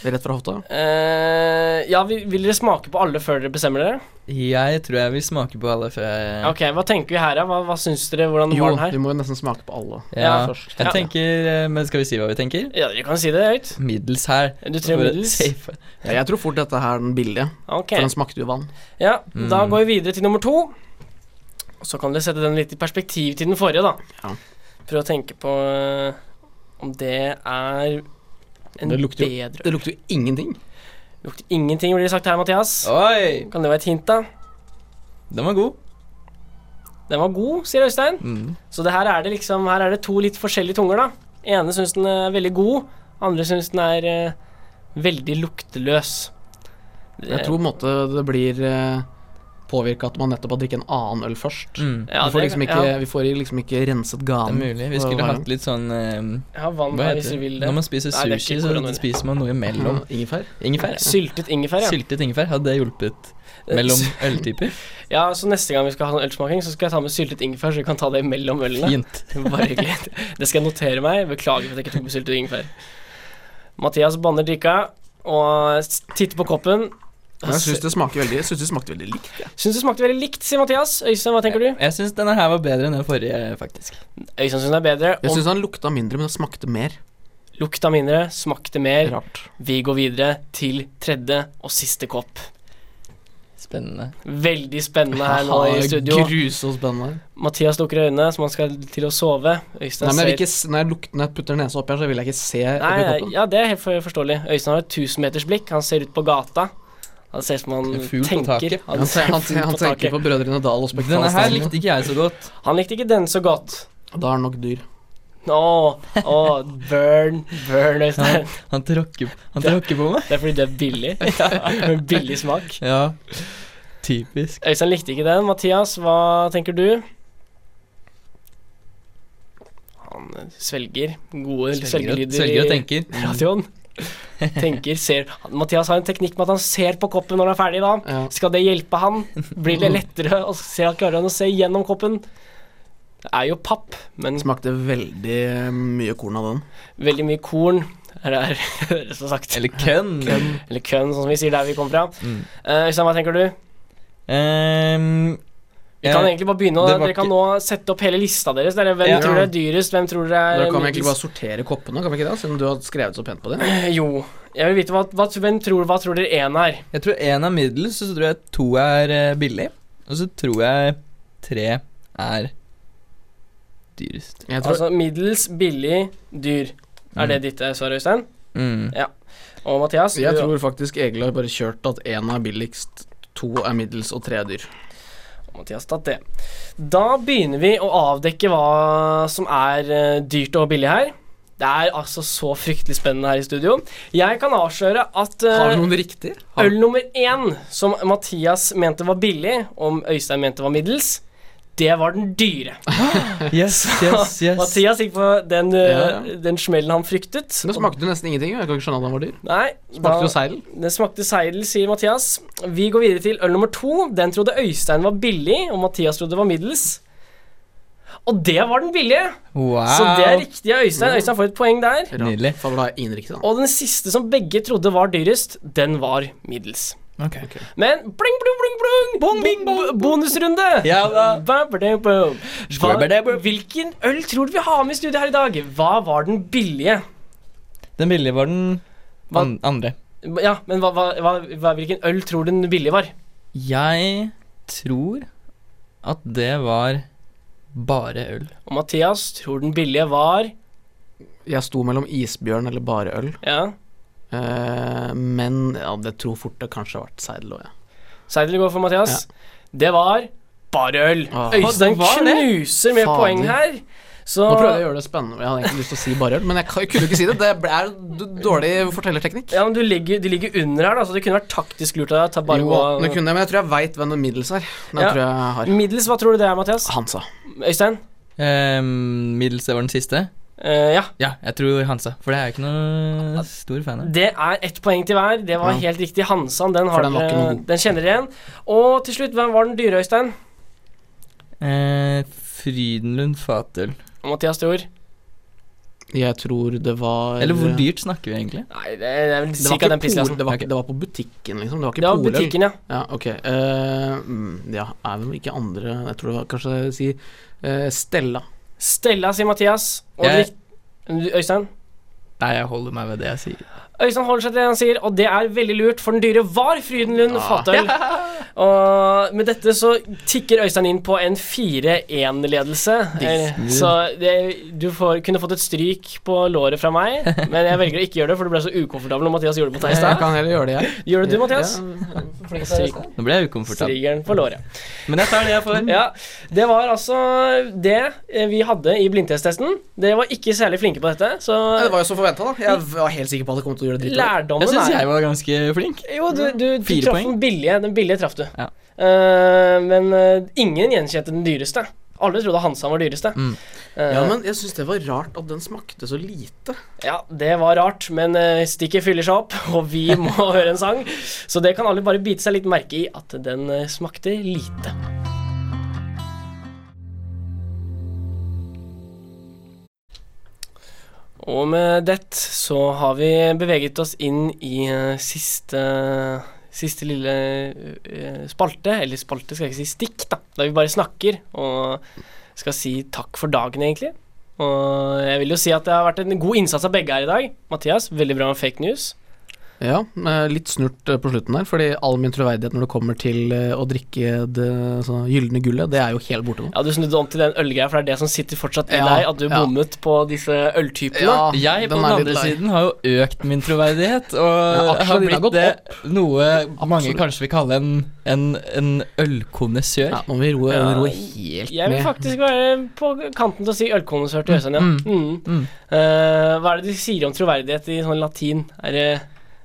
[SPEAKER 3] rett fra hofta.
[SPEAKER 1] Eh, ja, vi, vil dere smake på alle før dere bestemmer dere?
[SPEAKER 2] Jeg tror jeg vil smake på alle før jeg
[SPEAKER 1] Ok, Hva tenker vi her, da? Hva, hva syns dere? Hvordan
[SPEAKER 3] Jo,
[SPEAKER 1] var den her?
[SPEAKER 3] vi må jo nesten smake på alle
[SPEAKER 2] Ja.
[SPEAKER 3] først.
[SPEAKER 2] Jeg tenker eh, Men skal vi si hva vi tenker?
[SPEAKER 1] Ja, Dere kan si det høyt.
[SPEAKER 2] Middels her.
[SPEAKER 1] Du tror
[SPEAKER 2] for å
[SPEAKER 1] middels?
[SPEAKER 2] safe.
[SPEAKER 3] Ja, jeg tror fort dette her er den billige,
[SPEAKER 1] Ok.
[SPEAKER 3] for den smakte jo vann.
[SPEAKER 1] Ja, Da
[SPEAKER 2] Mm.
[SPEAKER 1] går vi videre til nummer to. Og Så kan dere sette den litt i perspektiv til den forrige, da.
[SPEAKER 3] Ja.
[SPEAKER 1] Prøv å tenke på eh, om det er en
[SPEAKER 3] Det lukter jo-
[SPEAKER 1] bedre
[SPEAKER 3] Det lukter jo ingenting.
[SPEAKER 1] Lukter ingenting, blir det sagt her, Mathias.
[SPEAKER 2] Oi!
[SPEAKER 1] Kan det være et hint, da?
[SPEAKER 2] Den var god.
[SPEAKER 1] Den var god, sier Øystein.
[SPEAKER 2] Mm.
[SPEAKER 1] Så det her er det liksom Her er det to litt forskjellige tunger, da. Ene syns den er veldig god, andre syns den er eh, veldig lukteløs.
[SPEAKER 3] Jeg tror på en måte det blir eh, påvirket at man nettopp har drikket en annen øl først.
[SPEAKER 2] Mm.
[SPEAKER 1] Ja,
[SPEAKER 3] vi, får
[SPEAKER 1] det-
[SPEAKER 3] liksom ikke,
[SPEAKER 1] ja.
[SPEAKER 3] vi får liksom ikke renset
[SPEAKER 2] Det er
[SPEAKER 3] ganen.
[SPEAKER 2] mulig. Vi
[SPEAKER 3] Hva
[SPEAKER 2] skulle
[SPEAKER 3] var
[SPEAKER 2] hatt litt sånn eh,
[SPEAKER 1] Ja, vann
[SPEAKER 2] Hva
[SPEAKER 1] her hvis
[SPEAKER 2] heter
[SPEAKER 1] du
[SPEAKER 2] det?
[SPEAKER 1] vil det.
[SPEAKER 2] Når man spiser
[SPEAKER 1] Nei, det er
[SPEAKER 2] sushi,
[SPEAKER 1] ikke
[SPEAKER 2] så
[SPEAKER 1] koronaen.
[SPEAKER 2] spiser man noe imellom.
[SPEAKER 3] Ja, Ingefær?
[SPEAKER 2] Ingefær.
[SPEAKER 1] Syltet ingefær, ja.
[SPEAKER 2] Syltet ingefær, hadde det hjulpet mellom øltyper?
[SPEAKER 1] ja. Så neste gang vi skal ha sånn ølsmaking, så skal jeg ta med syltet ingefær, så vi kan ta det mellom ølene.
[SPEAKER 2] Fint.
[SPEAKER 1] Bare hyggelig. Det skal jeg notere meg. Beklager for at jeg ikke tok med syltet ingefær. Mathias banner drikka og s- titter på koppen.
[SPEAKER 3] Men Jeg syns det smaker veldig Jeg synes det smakte veldig likt.
[SPEAKER 1] Syns det smakte veldig likt, sier Mathias. Øystein, hva tenker du?
[SPEAKER 2] Jeg syns denne her var bedre enn den forrige, faktisk.
[SPEAKER 1] Øystein syns det er bedre.
[SPEAKER 3] Jeg
[SPEAKER 1] Og
[SPEAKER 3] syns han lukta mindre, men det smakte mer.
[SPEAKER 1] lukta mindre, smakte mer.
[SPEAKER 3] Rart.
[SPEAKER 1] Vi går videre til tredje og siste kopp.
[SPEAKER 2] Spennende.
[SPEAKER 1] Veldig spennende her nå i studio.
[SPEAKER 3] Grusomt spennende.
[SPEAKER 1] Mathias lukker øynene, som han skal til å sove. Øystein
[SPEAKER 3] Nei, men jeg
[SPEAKER 1] ser
[SPEAKER 3] vil ikke, s- når jeg lukter når jeg putter nesa opp her, så vil jeg ikke se oppi
[SPEAKER 1] Nei,
[SPEAKER 3] koppen.
[SPEAKER 1] ja, det er helt for- forståelig. Øystein har et tusenmetersblikk. Han ser ut på gata. Han ser ut som han
[SPEAKER 2] En fugl på
[SPEAKER 1] tenker.
[SPEAKER 2] taket.
[SPEAKER 1] Han,
[SPEAKER 3] Han,
[SPEAKER 1] ser
[SPEAKER 3] han,
[SPEAKER 1] en fugl
[SPEAKER 3] han
[SPEAKER 1] på
[SPEAKER 3] tenker
[SPEAKER 1] taket.
[SPEAKER 3] på Brødrene Dal og
[SPEAKER 2] Denne her
[SPEAKER 3] Spektralsteinene.
[SPEAKER 2] likte ikke jeg så godt.
[SPEAKER 1] Han likte ikke den så godt.
[SPEAKER 3] Da er han nok dyr.
[SPEAKER 1] Å, å, burn, burn, Øystein.
[SPEAKER 2] Han tråkker, han tråkker på meg.
[SPEAKER 1] Det er fordi det er billig. Med billig smak.
[SPEAKER 2] Ja, typisk.
[SPEAKER 1] Øystein likte ikke den. Mathias, hva tenker du? Han eh, svelger. Gode
[SPEAKER 2] Svelger og-
[SPEAKER 1] svelgelyder.
[SPEAKER 2] svelger
[SPEAKER 1] i-
[SPEAKER 2] og tenker.
[SPEAKER 1] radioen. Tenker, ser Mathias har en teknikk med at han ser på koppen når han er ferdig. da
[SPEAKER 3] Ja.
[SPEAKER 1] Skal det hjelpe han? Blir det lettere? Og ser han Klarer han å se gjennom koppen? Det er jo papp, men
[SPEAKER 3] Smakte veldig eh, mye korn av den.
[SPEAKER 1] veldig mye korn. Eller, er- som sagt.
[SPEAKER 2] Eller kønn.
[SPEAKER 1] Eller kønn, sånn som vi sier der vi kommer fra.
[SPEAKER 2] Mm.
[SPEAKER 1] Eh, Øystein, hva tenker du?
[SPEAKER 2] Ehm,
[SPEAKER 1] Vi kan
[SPEAKER 2] jeg-
[SPEAKER 1] egentlig bare begynne å,
[SPEAKER 2] det var
[SPEAKER 1] Dere kan
[SPEAKER 2] ikke-
[SPEAKER 1] nå sette opp hele lista deres. Dere, hvem
[SPEAKER 2] Ja.
[SPEAKER 1] tror dere er dyrest? Hvem tror dere er
[SPEAKER 3] Da kan vi
[SPEAKER 1] middelst?
[SPEAKER 3] egentlig bare sortere koppene, kan vi ikke det? Siden du har skrevet så pent på det.
[SPEAKER 1] Eh, Jo. Jeg vil vite hva, hva, hvem tror, hva tror dere én er?
[SPEAKER 2] jeg tror én er middels, og så tror jeg to er eh, billig. Og så tror jeg tre er dyrest.
[SPEAKER 3] Jeg tror,
[SPEAKER 1] Altså middels, billig, dyr. Er det ditt eh, svar, Øystein?
[SPEAKER 2] Mm.
[SPEAKER 1] Og Mathias?
[SPEAKER 3] jeg
[SPEAKER 1] du-
[SPEAKER 3] tror faktisk Egil har bare kjørt at én er billigst, to er middels og tre er dyr.
[SPEAKER 1] Mathias tatt det. Da begynner vi å avdekke hva som er eh, dyrt og billig her. Det er altså så fryktelig spennende her i studio. Jeg kan avsløre at eh,
[SPEAKER 3] Har noen riktig? Har,
[SPEAKER 1] øl nummer én, som Mathias mente var billig, om Øystein mente var middels, det var den dyre.
[SPEAKER 2] Mm. Yes, yes, yes.
[SPEAKER 1] Mathias gikk på den, eh,
[SPEAKER 3] Ja,
[SPEAKER 1] den smellen han fryktet.
[SPEAKER 3] det smakte jo nesten ingenting. Jeg kan ikke skjønne at den var dyr.
[SPEAKER 1] Nei,
[SPEAKER 3] Smakte jo
[SPEAKER 1] da,
[SPEAKER 3] seil.
[SPEAKER 1] det smakte seidel, sier Mathias. Vi går videre til øl nummer to. Den trodde Øystein var billig, og Mathias trodde det var middels. Og det var den billige!
[SPEAKER 2] Wow. Mm.
[SPEAKER 1] Så det er riktig av Øystein. Øystein får et poeng der.
[SPEAKER 2] Nydelig.
[SPEAKER 3] Faen, da er jeg innriktig, da.
[SPEAKER 1] Og den siste som begge trodde var dyrest, den var middels.
[SPEAKER 2] Ok.
[SPEAKER 1] Men bling, bling, bling, bling!
[SPEAKER 2] Bong, bing,
[SPEAKER 1] Bo- bo- Bonusrunde!
[SPEAKER 2] Ja da.
[SPEAKER 1] Ba, ba, da, ba. Hva,
[SPEAKER 2] Skål.
[SPEAKER 1] hvilken øl tror du vi har med i studio her i dag? Hva var den billige?
[SPEAKER 2] Den billige var den
[SPEAKER 1] Hva-
[SPEAKER 2] an andre.
[SPEAKER 1] Ja, men hva, hva, hva, hva- hvilken øl tror du den billige var?
[SPEAKER 2] Jeg tror at det var bare øl.
[SPEAKER 1] Og Mathias tror den billige var
[SPEAKER 3] Jeg sto mellom isbjørn eller bare øl,
[SPEAKER 1] Ja,
[SPEAKER 3] eh, men ja, det tror fort det kanskje har vært seidel òg, jeg.
[SPEAKER 1] Seidel går for Mathias. Det var bare øl.
[SPEAKER 3] Ah.
[SPEAKER 1] Øystein
[SPEAKER 2] Det var det?
[SPEAKER 1] knuser med
[SPEAKER 3] Fader.
[SPEAKER 1] poeng her. Så
[SPEAKER 3] Nå prøvde jeg å gjøre det spennende. Jeg hadde egentlig lyst til å si bare øl, men jeg, kan- jeg kunne ikke si det. Det er d- dårlig fortellerteknikk.
[SPEAKER 1] ja, men du ligger, du ligger under her, da, så det kunne vært taktisk lurt av deg. å Ta bare
[SPEAKER 3] jo,
[SPEAKER 1] gå-
[SPEAKER 3] det kunne jeg, men jeg tror jeg veit hvem den middels er. Den
[SPEAKER 1] Ja.
[SPEAKER 3] tror jeg jeg har.
[SPEAKER 1] Middels, hva tror du det er, Mathias?
[SPEAKER 3] Hansa.
[SPEAKER 1] Øystein?
[SPEAKER 2] Um, middels det var den siste.
[SPEAKER 1] Eh, ja.
[SPEAKER 2] Ja, jeg tror Hansa, for det er jeg ikke noe stor fan av.
[SPEAKER 1] Det er ett poeng til hver. Det var
[SPEAKER 3] Ja.
[SPEAKER 1] helt riktig. Hansan, den,
[SPEAKER 3] For
[SPEAKER 1] har
[SPEAKER 3] den var ikke
[SPEAKER 1] dere-
[SPEAKER 3] noe god.
[SPEAKER 1] den kjenner dere igjen. Og til slutt, hvem var den dyre, Øystein?
[SPEAKER 2] Eh, Frydenlund fatøl.
[SPEAKER 1] Og Mathias tror
[SPEAKER 3] Jeg tror det var
[SPEAKER 2] Eller hvor dyrt snakker vi egentlig?
[SPEAKER 1] Nei, det er, det er vel
[SPEAKER 3] Det var,
[SPEAKER 1] cirka
[SPEAKER 3] ikke
[SPEAKER 1] den
[SPEAKER 3] pol,
[SPEAKER 1] prisklassen.
[SPEAKER 3] det, var,
[SPEAKER 2] Ok.
[SPEAKER 3] det var på butikken, liksom. Det var ikke
[SPEAKER 1] Det var
[SPEAKER 3] poløl.
[SPEAKER 1] butikken, ja.
[SPEAKER 3] Ja, ok. Eh, mm, ja, er vel ikke andre Jeg tror det var kanskje si eh, Stella.
[SPEAKER 1] Stella, sier Mathias. Og
[SPEAKER 2] Jeg-
[SPEAKER 1] rikt- Øystein?
[SPEAKER 2] Nei, jeg holder meg ved det jeg sier.
[SPEAKER 1] Øystein holder seg til det han sier, og det er veldig lurt, for den dyre var Frydenlund Fatøl. Og med dette så tikker Øystein inn på en 4-1-ledelse. Eh, Så det, du får, kunne fått et stryk på låret fra meg, men jeg velger å ikke gjøre det, for du ble så ukomfortabel når Mathias gjorde det på deg i
[SPEAKER 3] Jeg
[SPEAKER 1] stad.
[SPEAKER 3] kan heller gjøre det, jeg.
[SPEAKER 1] Gjør det du, Mathias?
[SPEAKER 3] Ja,
[SPEAKER 1] Stryk-
[SPEAKER 2] Nå ble jeg ukomfortabel. Mm.
[SPEAKER 1] Strigeren på låret.
[SPEAKER 2] Men jeg tar det jeg får.
[SPEAKER 1] Ja, Det var altså det eh, vi hadde i blindtesttesten. Dere var ikke særlig flinke på dette, så
[SPEAKER 3] Nei, det var jo som forventa, da. Jeg
[SPEAKER 1] Mm.
[SPEAKER 3] var helt sikker på at det kom til å gjøre det dritbra.
[SPEAKER 1] lærdommen
[SPEAKER 2] Jeg syns
[SPEAKER 1] er
[SPEAKER 2] jeg var ganske flink.
[SPEAKER 1] Jo, du, du, du
[SPEAKER 2] Fire
[SPEAKER 1] traff
[SPEAKER 2] poeng.
[SPEAKER 1] den billige. Den billige traff du.
[SPEAKER 2] Ja.
[SPEAKER 1] Eh, men eh, ingen gjenkjente den dyreste. Alle trodde Hansan var dyreste.
[SPEAKER 2] Mm.
[SPEAKER 1] Eh,
[SPEAKER 3] Ja, men jeg syns det var rart at den smakte så lite.
[SPEAKER 1] Ja, det var rart, men eh, stikket fyller seg opp, og vi må høre en sang. Så det kan alle bare bite seg litt merke i, at den eh, smakte lite. Og med det så har vi beveget oss inn i eh, siste Siste lille eh, spalte, eller spalte skal jeg ikke si stikk, da. Der vi bare snakker og skal si takk for dagen, egentlig. Og jeg vil jo si at det har vært en god innsats av begge her i dag. Mathias, veldig bra med fake news.
[SPEAKER 3] Ja, eh, litt snurt eh, på slutten der, fordi all min troverdighet når det kommer til eh, å drikke det sånn gylne gullet, det er jo helt borte nå.
[SPEAKER 1] Ja, Du snudde om til den ølgreia, for det er det som sitter fortsatt i
[SPEAKER 3] Ja,
[SPEAKER 1] deg, at du
[SPEAKER 3] ja.
[SPEAKER 1] bommet på disse øltypene.
[SPEAKER 2] Jeg på Ah, den
[SPEAKER 3] er litt
[SPEAKER 2] andre
[SPEAKER 3] lei.
[SPEAKER 2] siden har jo økt min troverdighet,
[SPEAKER 3] Ja,
[SPEAKER 2] og
[SPEAKER 3] aksjene
[SPEAKER 2] har
[SPEAKER 3] dine har
[SPEAKER 2] blitt
[SPEAKER 3] gått
[SPEAKER 2] det noe mange
[SPEAKER 3] Absolutt.
[SPEAKER 2] kanskje vil kalle en, en, en ølkonnessør.
[SPEAKER 3] Ja, nå må vi roe,
[SPEAKER 1] Ja.
[SPEAKER 3] roe helt
[SPEAKER 1] Jeg vil
[SPEAKER 3] ned.
[SPEAKER 1] faktisk være på kanten til å si ølkondensør til Øystein, ja. Mm.
[SPEAKER 2] mm.
[SPEAKER 1] Eh, hva er det de sier om troverdighet i sånn latin? Er det,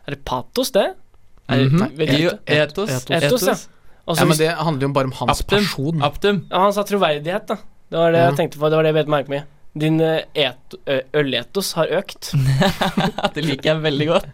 [SPEAKER 1] er det patos, det? Er det,
[SPEAKER 3] Mhm.
[SPEAKER 1] vet du
[SPEAKER 2] Jo,
[SPEAKER 1] ikke.
[SPEAKER 2] Etos.
[SPEAKER 3] Etos.
[SPEAKER 1] Etos, ja. Altså,
[SPEAKER 3] Ja, men
[SPEAKER 1] hvis,
[SPEAKER 3] det handler jo bare om hans
[SPEAKER 2] Aptum.
[SPEAKER 3] person.
[SPEAKER 2] Aptum.
[SPEAKER 1] ja, han sa troverdighet, da. Det var det
[SPEAKER 3] Ja.
[SPEAKER 1] jeg tenkte på. Det var det jeg bet merke med. Din eh, et, ø- øletos har økt.
[SPEAKER 2] Det liker jeg veldig godt.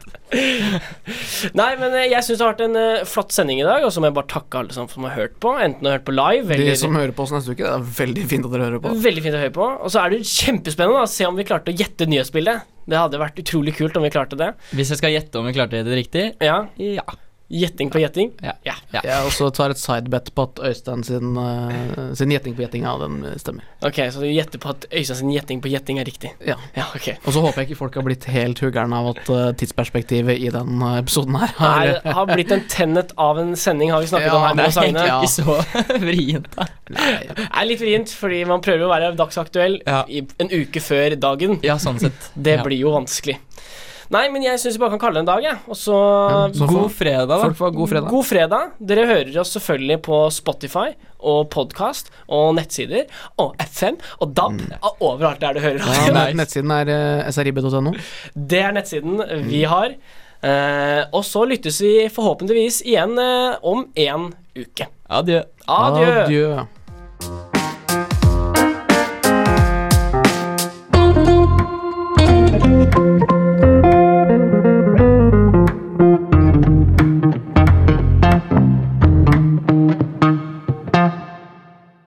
[SPEAKER 1] Nei, men eh, jeg syns det har vært en eh, flott sending i dag, og så må jeg bare takke alle sammen som har hørt på. Enten har hørt på live,
[SPEAKER 3] De
[SPEAKER 1] eller
[SPEAKER 3] som hører på oss neste uke, det er veldig fint at dere hører på.
[SPEAKER 1] Veldig fint å høre på. Og så er det kjempespennende da, å se om vi klarte å gjette nyhetsbildet. Det hadde vært utrolig kult om vi klarte det.
[SPEAKER 2] Hvis jeg skal gjette om jeg klarte det riktig
[SPEAKER 1] Ja,
[SPEAKER 2] Ja.
[SPEAKER 1] Gjetting på gjetting.
[SPEAKER 3] Jeg også tar et sidebet på at Øystein sin, eh, sin gjetting på gjettinga, den stemmer.
[SPEAKER 1] Ok, Så du gjetter på at Øystein sin gjetting på gjetting er riktig?
[SPEAKER 3] Ja.
[SPEAKER 1] Ja, ok.
[SPEAKER 3] Og så håper jeg ikke folk har blitt helt huggerne av at eh, tidsperspektivet i den eh, episoden her har
[SPEAKER 1] Nei, det har blitt en tennet av en sending, har vi snakket
[SPEAKER 3] Ja,
[SPEAKER 1] om her. med
[SPEAKER 2] Det er
[SPEAKER 1] oss Agne.
[SPEAKER 2] egentlig
[SPEAKER 3] Ja.
[SPEAKER 2] ikke så vrient. da.
[SPEAKER 1] Det er litt vrient, fordi man prøver å være dagsaktuell
[SPEAKER 2] Ja.
[SPEAKER 1] i en uke før dagen.
[SPEAKER 2] Ja, sånn sett.
[SPEAKER 1] Det
[SPEAKER 2] Ja.
[SPEAKER 1] blir jo vanskelig. Nei, men jeg syns vi bare kan kalle det en dag, jeg. Og så
[SPEAKER 3] så
[SPEAKER 2] God fredag, da.
[SPEAKER 3] Folk får god fredag.
[SPEAKER 1] God fredag. Dere hører oss selvfølgelig på Spotify og podkast og nettsider og FM og DAB og overalt der du hører
[SPEAKER 3] Mm. Ja,
[SPEAKER 1] radio.
[SPEAKER 3] nett- Mm. Nettsiden er eh, srib.no.
[SPEAKER 1] Det er nettsiden vi har. Eh, og så lyttes vi forhåpentligvis igjen eh, om en uke.
[SPEAKER 2] Adjø.
[SPEAKER 1] Adjø.
[SPEAKER 3] Adjø.